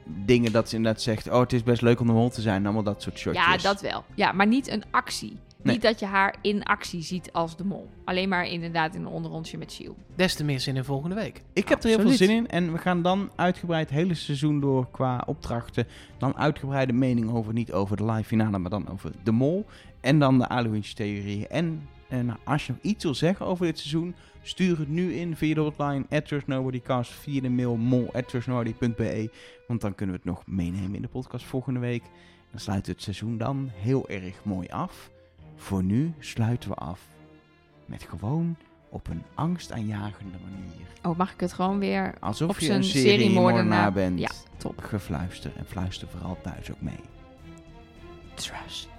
[SPEAKER 1] dingen dat ze inderdaad zegt... Oh, het is best leuk om de hol te zijn. en Allemaal dat soort shotjes.
[SPEAKER 3] Ja, dat wel. Ja, maar niet een actie.
[SPEAKER 1] Nee.
[SPEAKER 3] Niet dat je haar in actie ziet als de mol. Alleen maar inderdaad in een onderrondje met Shield.
[SPEAKER 2] Des te meer zin in volgende week.
[SPEAKER 1] Ik heb er heel veel zin
[SPEAKER 2] Absoluut.
[SPEAKER 1] in. En we gaan dan uitgebreid hele seizoen door qua opdrachten. Dan uitgebreide mening over, niet over de live finale, maar dan over de mol. En dan de Aluwintje theorie. En, en nou, als je nog iets wil zeggen over dit seizoen, stuur het nu in via de hotline at TrustNobodycast, via de mail mol at trustnobody.be. Want dan kunnen we het nog meenemen in de podcast volgende week. Dan sluit het seizoen dan heel erg mooi af. Voor nu sluiten we af met gewoon op een angstaanjagende manier.
[SPEAKER 3] Oh, mag ik het gewoon weer
[SPEAKER 1] Alsof
[SPEAKER 3] Of
[SPEAKER 1] je
[SPEAKER 3] zo'n
[SPEAKER 1] een
[SPEAKER 3] seriemoordenaar.
[SPEAKER 1] seriemoordenaar bent.
[SPEAKER 3] Ja, top.
[SPEAKER 1] Gefluister en fluister vooral thuis ook mee.
[SPEAKER 3] trust?